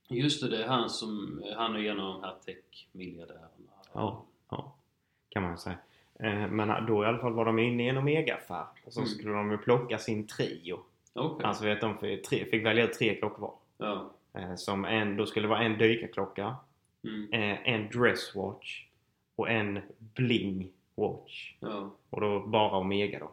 Speaker 2: just det. Det är han som... Han är en av de här tech-miljardärerna.
Speaker 1: Ja, ja. Kan man säga. Eh, Men då i alla fall var de inne i en Omega-affär. Och så
Speaker 2: Mm.
Speaker 1: skulle de ju plocka sin trio.
Speaker 2: Okej.
Speaker 1: Alltså vet de fick, tre, fick välja ut tre klockor var.
Speaker 2: Ja.
Speaker 1: Eh, Som en, då skulle det vara en dykarklocka,
Speaker 2: Mm.
Speaker 1: eh, en dresswatch och en bling-watch.
Speaker 2: ja.
Speaker 1: Och då bara Omega då.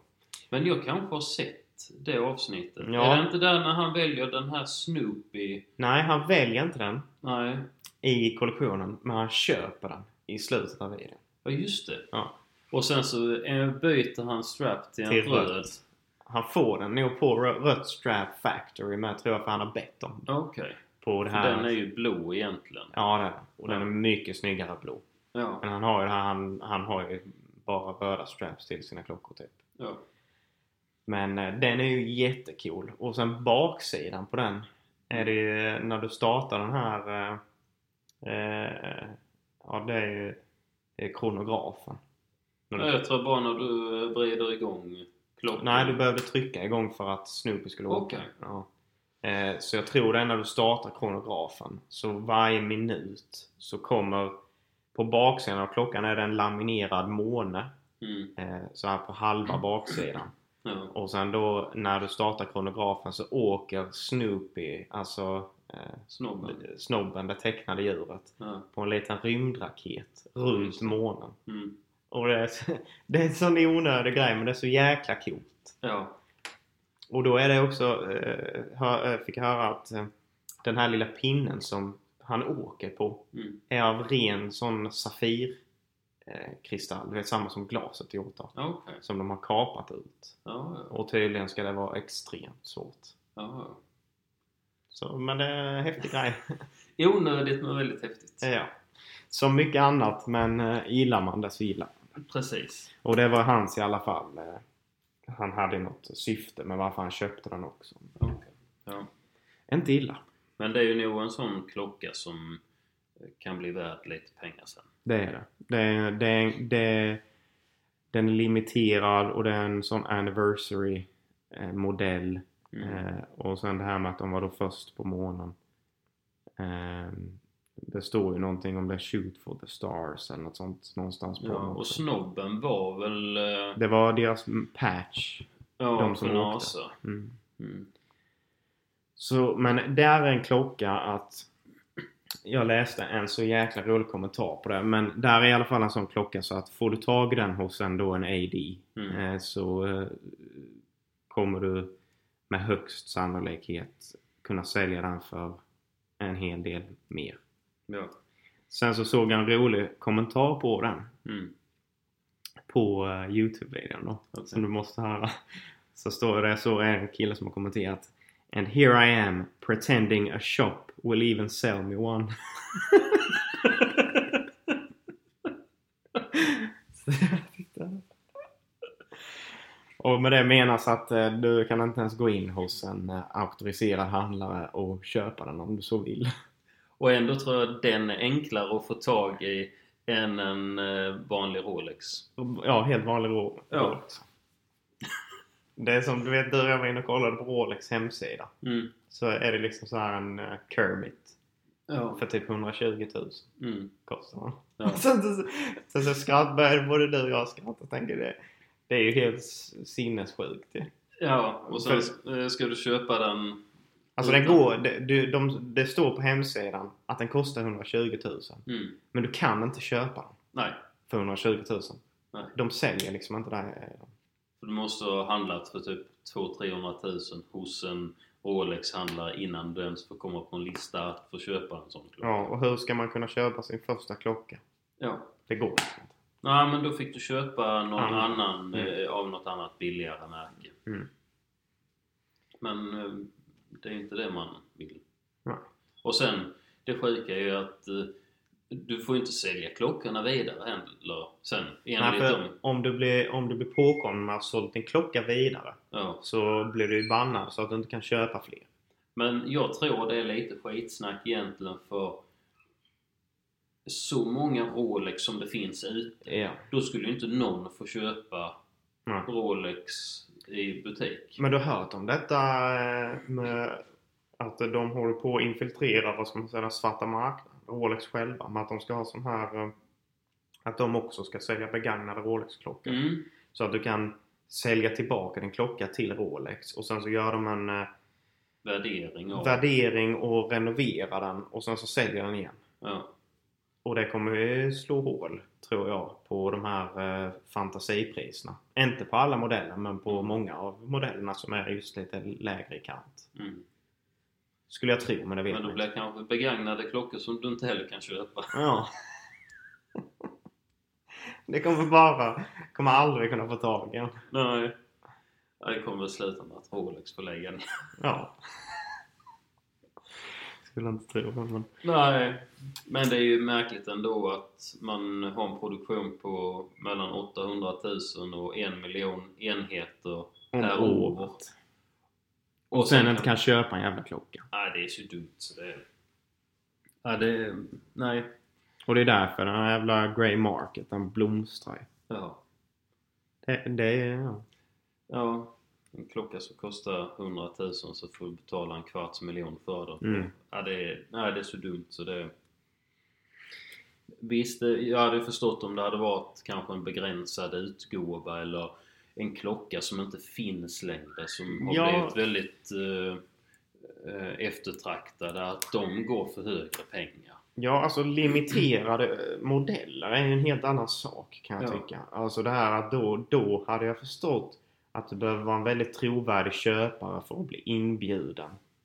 Speaker 2: Men jag kanske har sett det avsnittet.
Speaker 1: Ja.
Speaker 2: Är det inte där när han väljer den här Snoopy...
Speaker 1: Nej, han väljer inte den
Speaker 2: Nej.
Speaker 1: i kollektionen, men han köper den i slutet av videon.
Speaker 2: Ja, just det.
Speaker 1: Ja.
Speaker 2: Och sen så eh, byter han strap till en
Speaker 1: Till rött.
Speaker 2: röd.
Speaker 1: Han får den nog på Rö- Rött Strap Factory med tror jag för han har bett om.
Speaker 2: Okej.
Speaker 1: På det här...
Speaker 2: Den är ju blå egentligen.
Speaker 1: Ja, det är den. Och den är mycket snyggare blå.
Speaker 2: Ja.
Speaker 1: Men han har ju, det här- han, han har ju bara röda straps till sina klockor typ.
Speaker 2: ja.
Speaker 1: Men eh, den är ju jättecool. Och sen baksidan på den är det ju eh, när du startar den här... Eh, eh, ja, det är ju det är kronografen. När
Speaker 2: Ja,
Speaker 1: du,
Speaker 2: Jag tror bara när du eh, vrider igång
Speaker 1: Mm.
Speaker 2: klockan.
Speaker 1: Typ. nej, du behövde trycka igång för att Snoopy skulle åka.
Speaker 2: Okej.
Speaker 1: Ja. Eh, så jag tror det är när du startar kronografen. Så varje minut så kommer... På baksidan av klockan är det en laminerad måne.
Speaker 2: Mm.
Speaker 1: eh, så här på halva baksidan.
Speaker 2: Ja.
Speaker 1: Och sen då när du startar kronografen så åker Snoopy, alltså eh,
Speaker 2: Snobben.
Speaker 1: snobben, det tecknade djuret,
Speaker 2: Ja.
Speaker 1: på en liten rymdraket runt månen.
Speaker 2: Mm.
Speaker 1: Och det är, så- det är en sån onödig grej men det är så jäkla coolt.
Speaker 2: ja.
Speaker 1: Och då är det också, eh, hör, eh, fick jag höra att eh, den här lilla pinnen som han åker på
Speaker 2: Mm.
Speaker 1: är av ren sån safirkristall. Eh, kristall. det är samma som glaset är gjort av.
Speaker 2: Ja, Okej.
Speaker 1: Som de har kapat ut.
Speaker 2: Ja, ja.
Speaker 1: Och tydligen ska det vara extremt svårt.
Speaker 2: ja.
Speaker 1: Så, men det är en häftig grej.
Speaker 2: ja. Onödigt men väldigt häftigt.
Speaker 1: ja. Som mycket annat, men eh, gillar man det så gillar man.
Speaker 2: Precis.
Speaker 1: Och det var hans i alla fall. eh, Han hade något syfte med varför han köpte den också.
Speaker 2: Okej. Ja.
Speaker 1: Inte illa.
Speaker 2: Men det är ju nog en sån klocka som eh, kan bli värd lite pengar sen.
Speaker 1: Det är det. det, är- det, är- det den är limiterad och det är en sån anniversary eh, modell.
Speaker 2: Mm.
Speaker 1: Eh, och sen det här med att de var då först på månen. Eh, det står ju någonting om det shoot for the stars eller något sånt någonstans på
Speaker 2: Ja,
Speaker 1: den
Speaker 2: och
Speaker 1: också.
Speaker 2: snobben var väl... eh,
Speaker 1: Det var deras mm, patch.
Speaker 2: Ja,
Speaker 1: de som
Speaker 2: för
Speaker 1: åkte.
Speaker 2: NASA.
Speaker 1: Mm.
Speaker 2: Mm.
Speaker 1: Så, men där är en klocka att jag läste en så jäkla rolig kommentar på det. Men där är i alla fall en sån klocka så att får du tag i den hos en, då en AD
Speaker 2: Mm.
Speaker 1: eh, så eh, kommer du med högst sannolikhet kunna sälja den för en hel del mer.
Speaker 2: Ja.
Speaker 1: Sen så såg jag en rolig kommentar på den
Speaker 2: Mm.
Speaker 1: på eh, Youtube-videon då.
Speaker 2: Okej.
Speaker 1: Som du måste höra. Så står det så är det en kille som har kommenterat And here I am pretending a shop will even sell me one. Så jag tyckte- och med det menas att eh, du kan inte ens gå in hos en eh, auktoriserad handlare och köpa den om du så vill.
Speaker 2: Och ändå tror jag den är enklare att få tag i än en eh, vanlig Rolex.
Speaker 1: Ja, helt vanlig Rolex.
Speaker 2: Ja.
Speaker 1: Det är som du vet, du och jag var inne och kollade på Rolex hemsida.
Speaker 2: Mm.
Speaker 1: Så är det liksom så här en eh, Kermit.
Speaker 2: Ja.
Speaker 1: För typ 120 000
Speaker 2: Mm.
Speaker 1: kostar den.
Speaker 2: Ja.
Speaker 1: Sen så, sen så skratt, började både du och jag skratta och tänkte det. Det är ju helt sinnessjukt ju.
Speaker 2: ja, och sen eh, ska du köpa den...
Speaker 1: Alltså den
Speaker 2: Mm.
Speaker 1: går, det, du, de, det står på hemsidan att den kostar 120 000.
Speaker 2: Mm.
Speaker 1: Men du kan inte köpa den
Speaker 2: Nej,
Speaker 1: för 120 000.
Speaker 2: Nej.
Speaker 1: De säljer liksom inte det. här.
Speaker 2: för du måste ha handlat för typ 200-300 000 hos en Rolex-handlare innan du ens får komma på en lista att få köpa en sån klocka.
Speaker 1: Ja, och hur ska man kunna köpa sin första klocka?
Speaker 2: Ja.
Speaker 1: Det går liksom inte.
Speaker 2: Nej men då fick du köpa någon
Speaker 1: Annan.
Speaker 2: annan
Speaker 1: Mm.
Speaker 2: eh, av något annat billigare märke.
Speaker 1: Mm.
Speaker 2: Men eh, det är inte det man vill.
Speaker 1: Nej.
Speaker 2: Och sen, det sjuka är ju att eh, du får ju inte sälja klockorna vidare heller sen.
Speaker 1: Nej,
Speaker 2: Enligt
Speaker 1: för
Speaker 2: dem.
Speaker 1: om du blir, om du blir påkommen med att ha sålt din klocka vidare
Speaker 2: Ja.
Speaker 1: så blir du ju bannad så att du inte kan köpa fler.
Speaker 2: Men jag tror det är lite skitsnack egentligen för så många Rolex som det finns ute.
Speaker 1: Ja.
Speaker 2: Då skulle ju inte någon få köpa
Speaker 1: Nej.
Speaker 2: Rolex i butik.
Speaker 1: Men du har hört om detta eh, med att de håller på att infiltrera vad som man säga, den svarta marknaden. Rolex själva. Med att de ska ha sån här... eh, Att de också ska sälja begagnade Rolex-klockor.
Speaker 2: Mm.
Speaker 1: Så att du kan sälja tillbaka din klocka till Rolex. Och sen så gör de en eh,
Speaker 2: värdering av.
Speaker 1: värdering och renoverar den. Och sen så säljer den igen.
Speaker 2: ja.
Speaker 1: Och det kommer ju slå hål, tror jag, på de här eh, fantasipriserna. Inte på alla modeller, men på många av modellerna som är just lite lägre i kant.
Speaker 2: mm.
Speaker 1: Skulle jag tro, men det vet
Speaker 2: Men då
Speaker 1: jag
Speaker 2: blir det kanske begagnade klockor som du inte heller kan köpa.
Speaker 1: Ja. Det kommer bara... Kommer aldrig kunna få tag i en.
Speaker 2: Nej. Ja, Det kommer väl sluta med att Rolex får lägga ner.
Speaker 1: Ja. Skulle inte tro det, men...
Speaker 2: Nej. Men det är ju märkligt ändå att man har en produktion på mellan 800 000 och 1 miljon enheter
Speaker 1: Om
Speaker 2: per år.
Speaker 1: året. Och sen inte kan köpa en jävla klocka.
Speaker 2: Nej, det är så dumt så det... Ja, det... Nej.
Speaker 1: Och det är därför den här jävla grey market, den blomstrar ju.
Speaker 2: Ja.
Speaker 1: Det, det är... Ja.
Speaker 2: Ja. En klocka som kostar 100 000 så får du betala en kvarts miljon för den.
Speaker 1: Mm.
Speaker 2: Ja, det är, nej, det är så dumt så det... Visst, det- jag hade förstått om det hade varit kanske en begränsad utgåva eller en klocka som inte finns längre som har
Speaker 1: Ja.
Speaker 2: blivit väldigt eh, eh, eftertraktade. Att de går för höga pengar.
Speaker 1: Ja, alltså limiterade eh, modeller är ju en helt annan sak kan jag
Speaker 2: Ja.
Speaker 1: tycka. Alltså det här att då, då hade jag förstått att du behöver vara en väldigt trovärdig köpare för att bli inbjuden.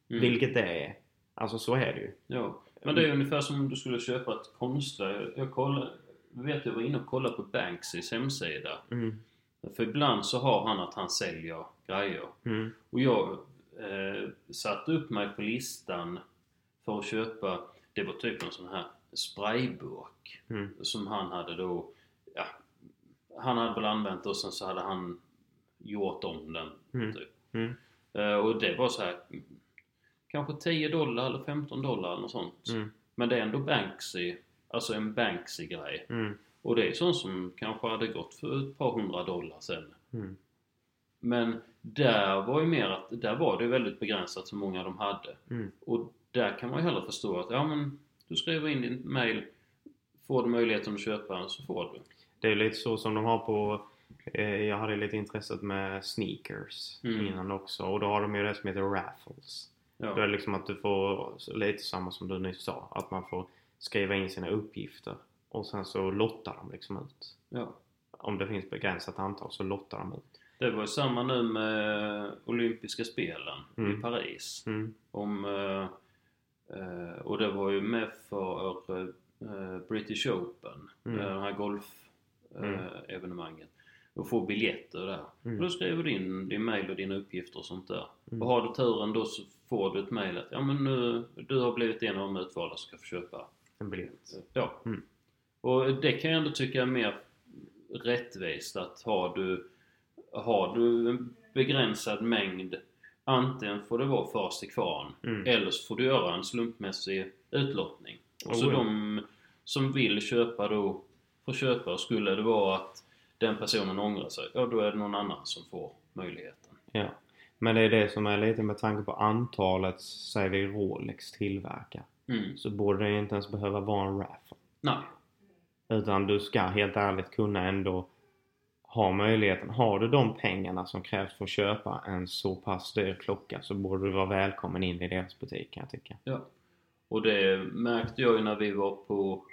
Speaker 2: Mm.
Speaker 1: Vilket det är. Alltså så är det ju.
Speaker 2: Ja. Men det är ungefär som om du skulle köpa ett konstverk. Jag kollade, vet jag var inne och kollade på Banksys hemsida.
Speaker 1: Mm.
Speaker 2: För ibland så har han att han säljer grejer.
Speaker 1: Mm.
Speaker 2: Och jag eh, satte upp mig på listan för att köpa, det var typ en sån här sprayburk
Speaker 1: Mm.
Speaker 2: som han hade då, ja, han hade väl använt och sen så hade han gjort om den.
Speaker 1: Mm.
Speaker 2: Typ.
Speaker 1: Mm.
Speaker 2: Eh, och det var så här mm, kanske 10 dollar eller 15 dollar eller något sånt.
Speaker 1: Mm.
Speaker 2: Men det är ändå Banksy, alltså en Banksy-grej.
Speaker 1: Mm.
Speaker 2: Och det är sånt som kanske hade gått för ett par hundra dollar sen.
Speaker 1: Mm.
Speaker 2: Men där var ju mer att, där var det väldigt begränsat hur många de hade.
Speaker 1: Mm.
Speaker 2: Och där kan man ju heller förstå att, ja men du skriver in din mail, får du möjligheten att köpa den så får du.
Speaker 1: Det är lite så som de har på... Eh, jag hade lite intresset med sneakers
Speaker 2: Mm.
Speaker 1: innan också. Och då har de ju det som heter raffles.
Speaker 2: Ja.
Speaker 1: Då är det liksom att du får lite samma som du nyss sa. Att man får skriva in sina uppgifter. Och sen så lottar de liksom ut.
Speaker 2: ja.
Speaker 1: Om det finns begränsat antal så lottar de ut.
Speaker 2: Det var ju samma nu med olympiska spelen
Speaker 1: Mm.
Speaker 2: i Paris.
Speaker 1: Mm.
Speaker 2: Om, eh, eh, och det var ju med för eh, British Open,
Speaker 1: Mm.
Speaker 2: eh, det här golfevenemanget. Eh, evenemanget. och få biljetter där.
Speaker 1: Mm.
Speaker 2: Och då skriver du in din mail och dina uppgifter och sånt där.
Speaker 1: Mm.
Speaker 2: Och har du turen då så får du ett mail att ja men nu, du har blivit en av de utvalda som ska få köpa.
Speaker 1: En biljett.
Speaker 2: Ja.
Speaker 1: Mm.
Speaker 2: Och det kan jag ändå tycka är mer rättvist att har du, har du en begränsad mängd antingen får det vara först till kvarn
Speaker 1: Mm.
Speaker 2: eller så får du göra en slumpmässig utlottning. Och så
Speaker 1: Oh, ja.
Speaker 2: de som vill köpa då får köpa och skulle det vara att den personen ångrar sig, ja då är det någon annan som får möjligheten.
Speaker 1: Ja. Men det är det som är lite med tanke på antalet, säger vi Rolex tillverkar.
Speaker 2: Mm.
Speaker 1: Så borde det inte ens behöva vara en raffle.
Speaker 2: Nej.
Speaker 1: Utan du ska helt ärligt kunna ändå ha möjligheten. Har du de pengarna som krävs för att köpa en så pass dyr klocka så borde du vara välkommen in i deras butik kan jag tycka.
Speaker 2: Ja. Och det märkte jag ju när vi var på...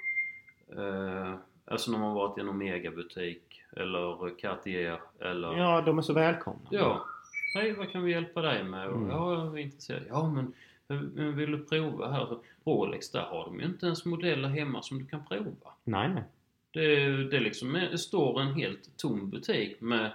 Speaker 2: Eh, alltså när man varit i en Omega-butik eller Cartier eller...
Speaker 1: Ja, de är så välkomna.
Speaker 2: Ja. Hej, vad kan vi hjälpa dig med? Och,
Speaker 1: Mm.
Speaker 2: Ja, vi är intresserade. Ja, men, men vill du prova här? Rolex, där har de ju inte ens modeller hemma som du kan prova.
Speaker 1: Nej, nej.
Speaker 2: Det, det liksom är, står en helt tom butik med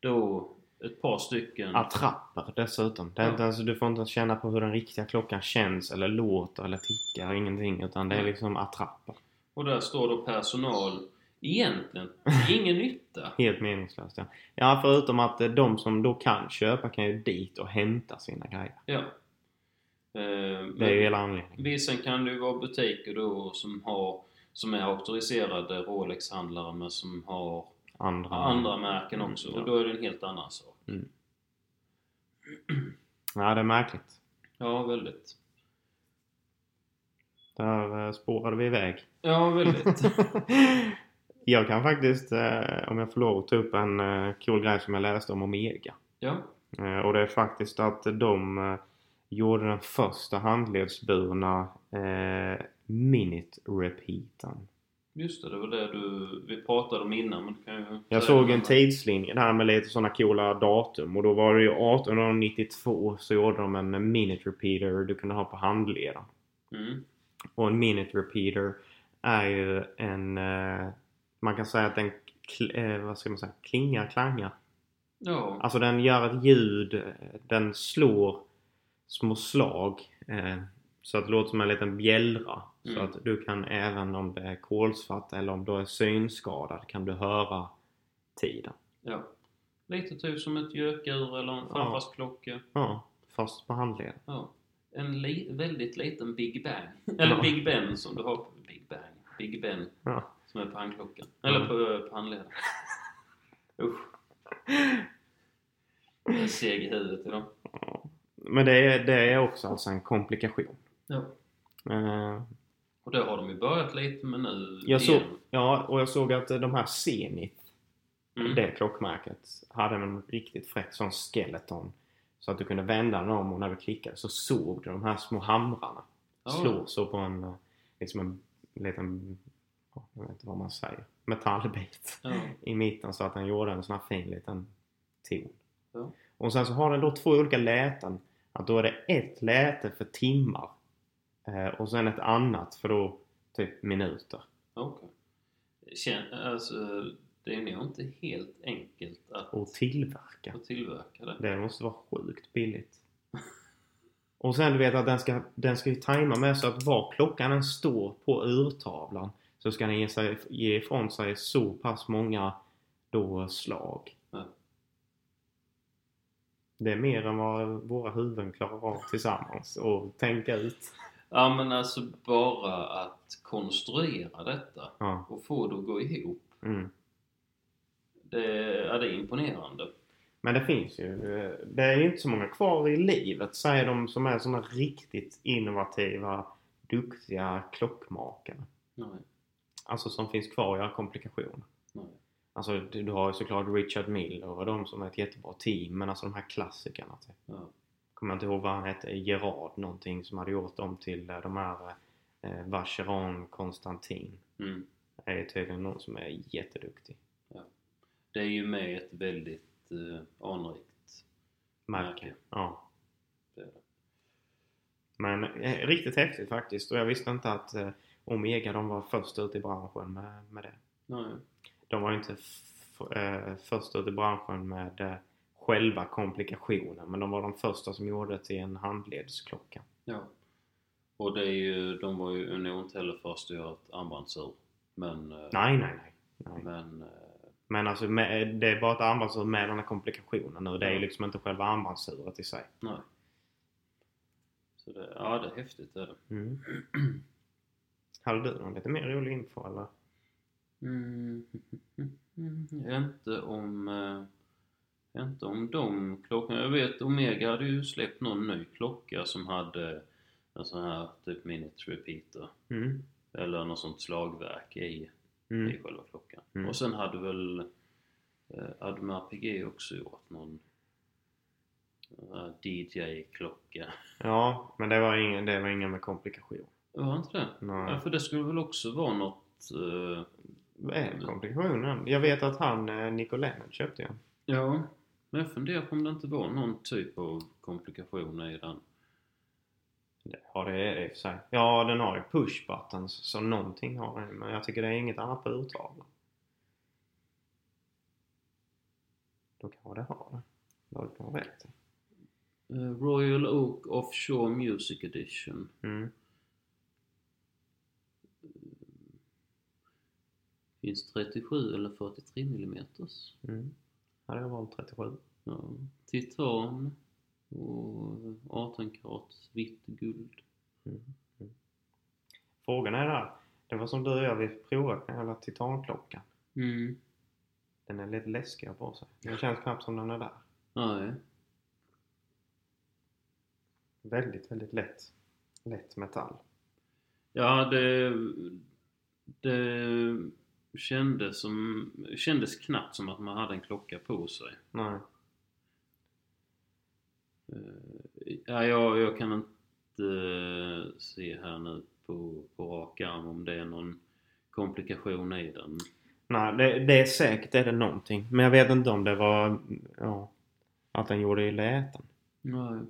Speaker 2: då ett par stycken...
Speaker 1: Attrapper dessutom. Det är inte ens, du får inte ens känna på hur den riktiga klockan känns eller låter eller tickar. Ingenting. Utan det är liksom attrapper.
Speaker 2: Och där står då personal. Egentligen, ingen nytta.
Speaker 1: Helt meningslöst ja. Ja, förutom att eh, de som då kan köpa kan ju dit och hämta sina grejer.
Speaker 2: Ja. Eh,
Speaker 1: Det är ju
Speaker 2: Men
Speaker 1: hela anledningen.
Speaker 2: vissa kan det ju vara butiker då som har som är auktoriserade Rolex-handlare men som har
Speaker 1: Andra,
Speaker 2: andra märken också.
Speaker 1: Mm, ja.
Speaker 2: Och då är det en helt annan sak.
Speaker 1: Ja, det är märkligt.
Speaker 2: Ja, väldigt.
Speaker 1: Där eh, spårade vi iväg.
Speaker 2: Ja, väldigt.
Speaker 1: jag kan faktiskt, eh, om jag får lov, ta upp en eh, cool grej som jag läste om Omega.
Speaker 2: ja.
Speaker 1: Eh, Och det är faktiskt att de eh, gjorde den första handledsburna eh, Minute Repeatern.
Speaker 2: Just det, det var det du, vi pratade om innan men du kan ju...
Speaker 1: Jag
Speaker 2: säga
Speaker 1: såg
Speaker 2: det
Speaker 1: en
Speaker 2: här.
Speaker 1: tidslinje där med lite sådana coola datum och då var det ju 1892 så gjorde de en Minute Repeater du kunde ha på handleden.
Speaker 2: Mm.
Speaker 1: Och en Minute Repeater är ju en, eh, man kan säga att den, kl- eh, vad ska man säga, klingar, klangar.
Speaker 2: Ja.
Speaker 1: Alltså den gör ett ljud, eh, den slår små slag eh, så att det låter som en liten bjällra. Så
Speaker 2: Mm.
Speaker 1: att du kan även om det är kolsvart eller om du är synskadad kan du höra tiden.
Speaker 2: ja. Lite typ som ett gökur eller en
Speaker 1: Ja.
Speaker 2: farfarsklocka.
Speaker 1: Ja, fast på handleden.
Speaker 2: Ja. En li- väldigt liten Big Bang. Eller
Speaker 1: Ja.
Speaker 2: Big Ben som du har på Big Bang. Big Ben
Speaker 1: Ja.
Speaker 2: som är på handklockan.
Speaker 1: Ja.
Speaker 2: Eller på, på handleden. Usch. Jag är seg i huvudet idag.
Speaker 1: Men det är, det är också alltså en komplikation.
Speaker 2: Ja.
Speaker 1: Eh,
Speaker 2: Och då har de ju börjat lite men nu
Speaker 1: jag såg,
Speaker 2: igen.
Speaker 1: ja, och jag såg att eh, de här Zenith,
Speaker 2: Mm.
Speaker 1: det klockmärket, hade en riktigt fräck sån skeleton. Så att du kunde vända den om och när du klickade så såg du de här små hamrarna.
Speaker 2: Ja.
Speaker 1: slår så på en, eh, liksom en liten, ja, jag vet inte vad man säger, metallbit
Speaker 2: Ja.
Speaker 1: i mitten så att den gjorde en sån här fin liten ton.
Speaker 2: Ja.
Speaker 1: Och sen så har den då två olika läten. Att då är det ett läte för timmar eh, och sen ett annat för då typ minuter.
Speaker 2: Okej. Kän- Alltså, det är nog inte helt enkelt att,
Speaker 1: Och tillverka.
Speaker 2: att tillverka det.
Speaker 1: Det måste vara sjukt billigt. Och sen du vet att den ska, den ska ju tajma med så att var klockan än står på urtavlan så ska den ge, sig, ge ifrån sig så pass många då slag.
Speaker 2: Ja.
Speaker 1: Det är mer än vad våra huvuden klarar av tillsammans och tänka ut.
Speaker 2: Ja men alltså bara att konstruera detta
Speaker 1: Ja.
Speaker 2: och få det att gå ihop.
Speaker 1: Mm.
Speaker 2: Det, ja, det är imponerande.
Speaker 1: Men det finns ju. eh, Det är ju inte så många kvar i livet säger de som är såna riktigt innovativa, duktiga klockmakare.
Speaker 2: Nej,
Speaker 1: Alltså som finns kvar och göra komplikationer.
Speaker 2: nej.
Speaker 1: Alltså du, du har ju såklart Richard Miller och de som är ett jättebra team. Men alltså de här klassikerna. Typ.
Speaker 2: Ja.
Speaker 1: Kommer jag inte ihåg vad han hette. Gerard någonting som hade gjort dem till eh, de här eh, Vacheron Konstantin.
Speaker 2: Mm.
Speaker 1: Det är tydligen någon som är jätteduktig.
Speaker 2: Det är ju med ett väldigt eh, anrikt
Speaker 1: Märke.
Speaker 2: Märke.
Speaker 1: Ja.
Speaker 2: det är det.
Speaker 1: Men eh, riktigt häftigt faktiskt. Och jag visste inte att eh, Omega de var först ut i branschen med, med det.
Speaker 2: Nej.
Speaker 1: De var ju inte f- eh, först ut i branschen med eh, själva komplikationen men de var de första som gjorde det till en handledsklocka.
Speaker 2: Ja. Och det är ju, de var ju nog inte heller först att göra ett armbandsur. Men, eh,
Speaker 1: Nej, nej, nej. nej.
Speaker 2: men eh,
Speaker 1: Men alltså med, det är bara ett armbandsur med den här komplikationen nu. Det är ju
Speaker 2: Ja.
Speaker 1: liksom inte själva armbandsuret i sig.
Speaker 2: nej. Så det, ja det är häftigt det är det.
Speaker 1: Mm. Hade du någon lite mer rolig info eller?
Speaker 2: Mm. Inte om... eh, Inte om de klockorna. Jag vet Omega hade ju släppt någon ny klocka som hade en sån här typ minute repeater.
Speaker 1: Mm.
Speaker 2: Eller något sånt slagverk i, i
Speaker 1: Mm.
Speaker 2: själva klockan.
Speaker 1: Mm.
Speaker 2: Och sen hade väl eh, Admar PG också gjort någon eh, DJ-klocka.
Speaker 1: Ja, men det var ingen, det var ingen med komplikation.
Speaker 2: Var inte det? Ja,
Speaker 1: Nej.
Speaker 2: för det skulle väl också vara något... eh,
Speaker 1: Vad är komplikationen? Jag vet att han, eh, Nicolin, köpte ju.
Speaker 2: Ja, Men jag funderar på om det inte var någon typ av komplikation i den.
Speaker 1: Ja, det är det i och för sig. Ja, den har ju push buttons, så någonting har den. Men jag tycker det är inget annat på urtavlan. Då kanske det har det. Då har du kanske rätt.
Speaker 2: Eh, Royal Oak Offshore Music Edition.
Speaker 1: Mm.
Speaker 2: Finns 37 eller 43 millimeters.
Speaker 1: Mm. Hade jag valt 37.
Speaker 2: Ja, titan och 18 karat vitt guld.
Speaker 1: Frågan är där. Det var som du och jag, vi provade den jävla titanklockan.
Speaker 2: Mm.
Speaker 1: Den är lite läskig på sig. Det känns knappt som den är där.
Speaker 2: Nej.
Speaker 1: Väldigt, väldigt lätt. Lätt metall.
Speaker 2: Ja, det, det kändes, som, kändes knappt som att man hade en klocka på sig.
Speaker 1: Nej.
Speaker 2: Eh, Ja, jag, jag kan inte se här nu på, på rak arm om det är någon komplikation i den.
Speaker 1: Nej, det, det är säkert är det någonting. Men jag vet inte om det var... Ja. Att den gjorde i läten.
Speaker 2: Nej.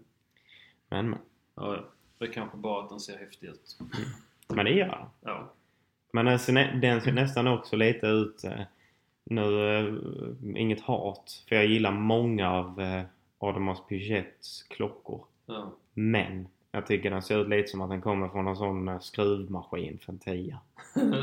Speaker 1: Men, men.
Speaker 2: Ja, ja. det är kanske bara att den ser häftig ut.
Speaker 1: Men det gör den.
Speaker 2: Ja.
Speaker 1: Men den ser, nä- den ser nästan också lite ut... eh, Nu, eh, inget hat. För jag gillar många av eh, Audemars Piguets klockor.
Speaker 2: ja.
Speaker 1: Men jag tycker den ser ut lite som att den kommer från en sån eh, skruvmaskin för en tia.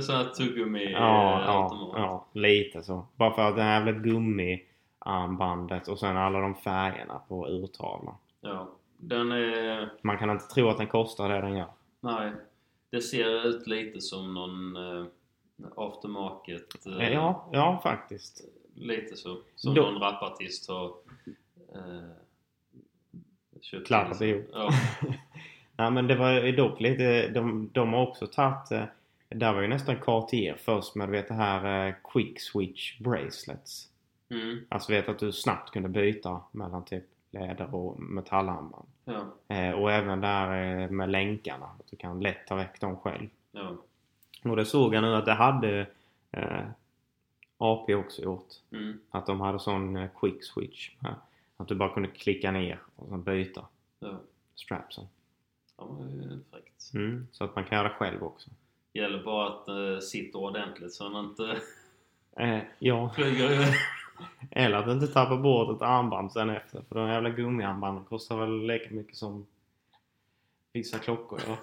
Speaker 2: Så här tuggummi
Speaker 1: Ja,
Speaker 2: eh,
Speaker 1: ja,
Speaker 2: automat.
Speaker 1: ja, lite så. Bara för att det här jävla gummiarmbandet och sen alla de färgerna på urtavlan.
Speaker 2: ja. Den är...
Speaker 1: Man kan inte tro att den kostar det den gör.
Speaker 2: Nej. Det ser ut lite som någon eh, aftermarket. eh,
Speaker 1: Ja, ja faktiskt.
Speaker 2: Lite så. Som
Speaker 1: Då-
Speaker 2: någon rapartist har eh, köpt.
Speaker 1: Klappat ihop.
Speaker 2: Ja.
Speaker 1: Nej men det var ju dock lite, de, de har också tagit, eh, där var ju nästan Cartier först med du vet det här eh, quick switch bracelets.
Speaker 2: Mm.
Speaker 1: Alltså vet att du snabbt kunde byta mellan typ läder och metallarmband.
Speaker 2: Ja.
Speaker 1: Eh, och även där eh, med länkarna, att du kan lätt ta väck dem själv.
Speaker 2: Ja.
Speaker 1: Och det såg jag nu att det hade eh, AP också gjort.
Speaker 2: Mm.
Speaker 1: Att de hade sån eh, quick switch. Med, att du bara kunde klicka ner och sen byta
Speaker 2: Ja.
Speaker 1: strapsen.
Speaker 2: Ja, det är fräckt.
Speaker 1: Mm. Så att man kan göra det själv också.
Speaker 2: Gäller bara att eh, sitta ordentligt så man inte
Speaker 1: Eh, ja,
Speaker 2: flyger iväg.
Speaker 1: eller att inte tappa bort ett armband sen efter. För de jävla gummiarmbanden kostar väl lika mycket som vissa klockor. Ja.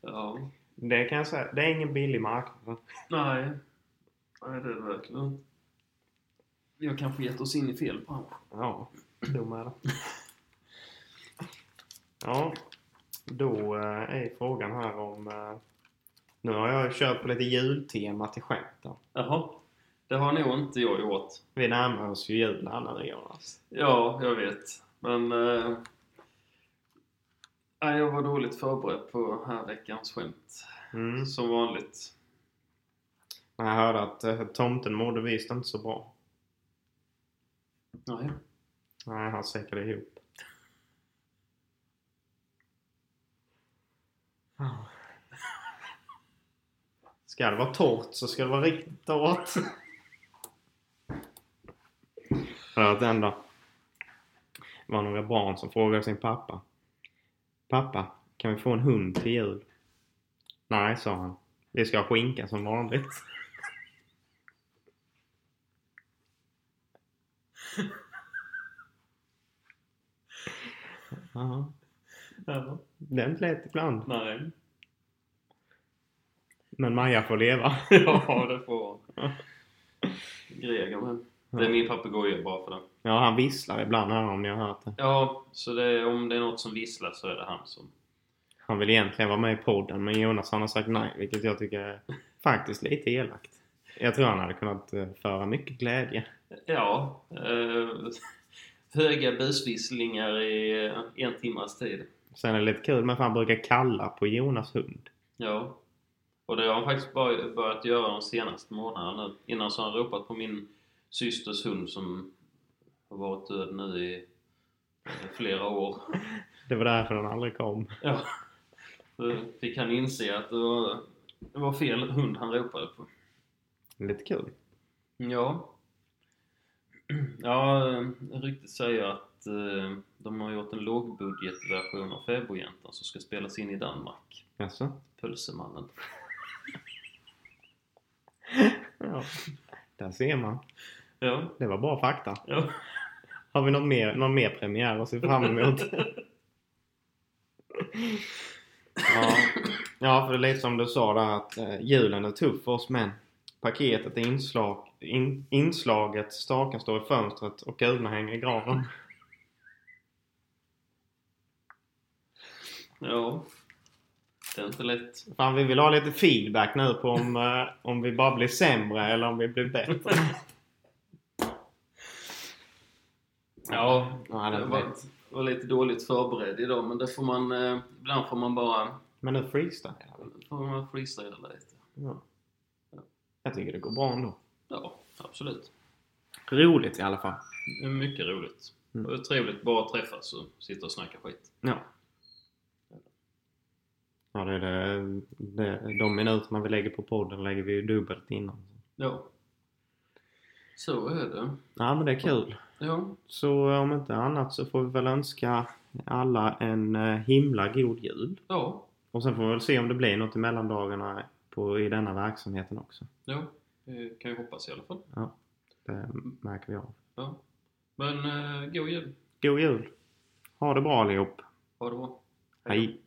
Speaker 2: Ja.
Speaker 1: Det kan jag säga, det är ingen billig marknad.
Speaker 2: Nej. Nej, det är det verkligen inte. Vi har kanske gett oss in i fel bransch.
Speaker 1: Ja, dum är det. Ja, då eh, är frågan här om... eh, Nu har jag kört på lite jultema till skämten.
Speaker 2: Jaha. Det har nog inte jag gjort.
Speaker 1: Vi närmar oss ju julen här nu Jonas.
Speaker 2: Ja, jag vet. Men... Eh, nej, jag var dåligt förberedd på den här veckans skämt.
Speaker 1: Mm.
Speaker 2: Som vanligt.
Speaker 1: Men Jag hörde att eh, tomten mådde visst inte så bra.
Speaker 2: Nej.
Speaker 1: Nej, han säkrade ihop. Ja. Ska det vara torrt så ska det vara riktigt torrt. För att ändå. Det var några barn som frågade sin pappa. Pappa, kan vi få en hund till jul? Nej, sa han. Vi ska ha skinka som vanligt. Ja,
Speaker 2: Ja.
Speaker 1: det är inte lätt ibland.
Speaker 2: Nej.
Speaker 1: Men Maja får leva.
Speaker 2: Ja, det får man. Greger med. Det är min papegoja bara för det.
Speaker 1: Ja, han visslar ibland här om ni har hört det.
Speaker 2: Ja, så det, om det är något som visslar så är det han som...
Speaker 1: Han vill egentligen vara med i podden men Jonas han har sagt nej vilket jag tycker är faktiskt lite elakt. Jag tror han hade kunnat eh, föra mycket glädje.
Speaker 2: Ja. Eh, höga busvisslingar i eh, en timmas tid.
Speaker 1: Sen är det lite kul med för han brukar kalla på Jonas hund.
Speaker 2: Ja. Och det har han faktiskt bör- börjat göra de senaste månaderna nu. Innan så har han ropat på min systers hund som har varit död nu i eh, flera år.
Speaker 1: Det var därför han aldrig kom.
Speaker 2: Ja. Då fick han inse att det var, det var fel hund han ropade på.
Speaker 1: Lite kul.
Speaker 2: Ja. Ja, eh, ryktet säger att eh, de har gjort en lågbudgetversion av Fäbodjäntan som ska spelas in i Danmark.
Speaker 1: Jaså?
Speaker 2: Pölsemannen.
Speaker 1: Ja. Där ser man.
Speaker 2: Ja,
Speaker 1: Det var bra fakta.
Speaker 2: ja.
Speaker 1: Har vi någon mer, någon mer premiär att se fram emot? ja. ja, för det är lite som du sa där att eh, julen är tuff för oss män. Paketet är inslag, in, inslaget, staken står i fönstret och kulorna hänger i graven.
Speaker 2: ja. Det är inte lätt.
Speaker 1: Fan, vi vill ha lite feedback nu på om, eh, om vi bara blir sämre eller om vi blir bättre.
Speaker 2: Ja,
Speaker 1: Ja, det är
Speaker 2: jag
Speaker 1: inte
Speaker 2: var,
Speaker 1: lätt.
Speaker 2: var lite dåligt förberedd idag men det får man... Eh, ibland får man bara...
Speaker 1: Men nu freestylar vi.
Speaker 2: får man freestyla lite.
Speaker 1: Ja. Jag tycker det går bra ändå.
Speaker 2: Ja, absolut.
Speaker 1: Roligt i alla fall.
Speaker 2: Det är mycket roligt.
Speaker 1: Mm.
Speaker 2: Och det är trevligt bara att träffas och sitta och snacka skit.
Speaker 1: Ja. Ja, det är det, det, de minuterna vi lägger på podden lägger vi ju dubbelt innan.
Speaker 2: Ja. Så är det.
Speaker 1: Ja, men det är kul.
Speaker 2: Ja,
Speaker 1: Så eh, om inte annat så får vi väl önska alla en eh, himla god jul.
Speaker 2: ja,
Speaker 1: Och sen får vi väl se om det blir något i mellandagarna på, i denna verksamheten också.
Speaker 2: ja. Det kan ju hoppas i alla fall.
Speaker 1: Det märker vi av.
Speaker 2: Ja. Men eh, god jul.
Speaker 1: God jul! Ha det bra allihop!
Speaker 2: Ha det bra.
Speaker 1: Hej!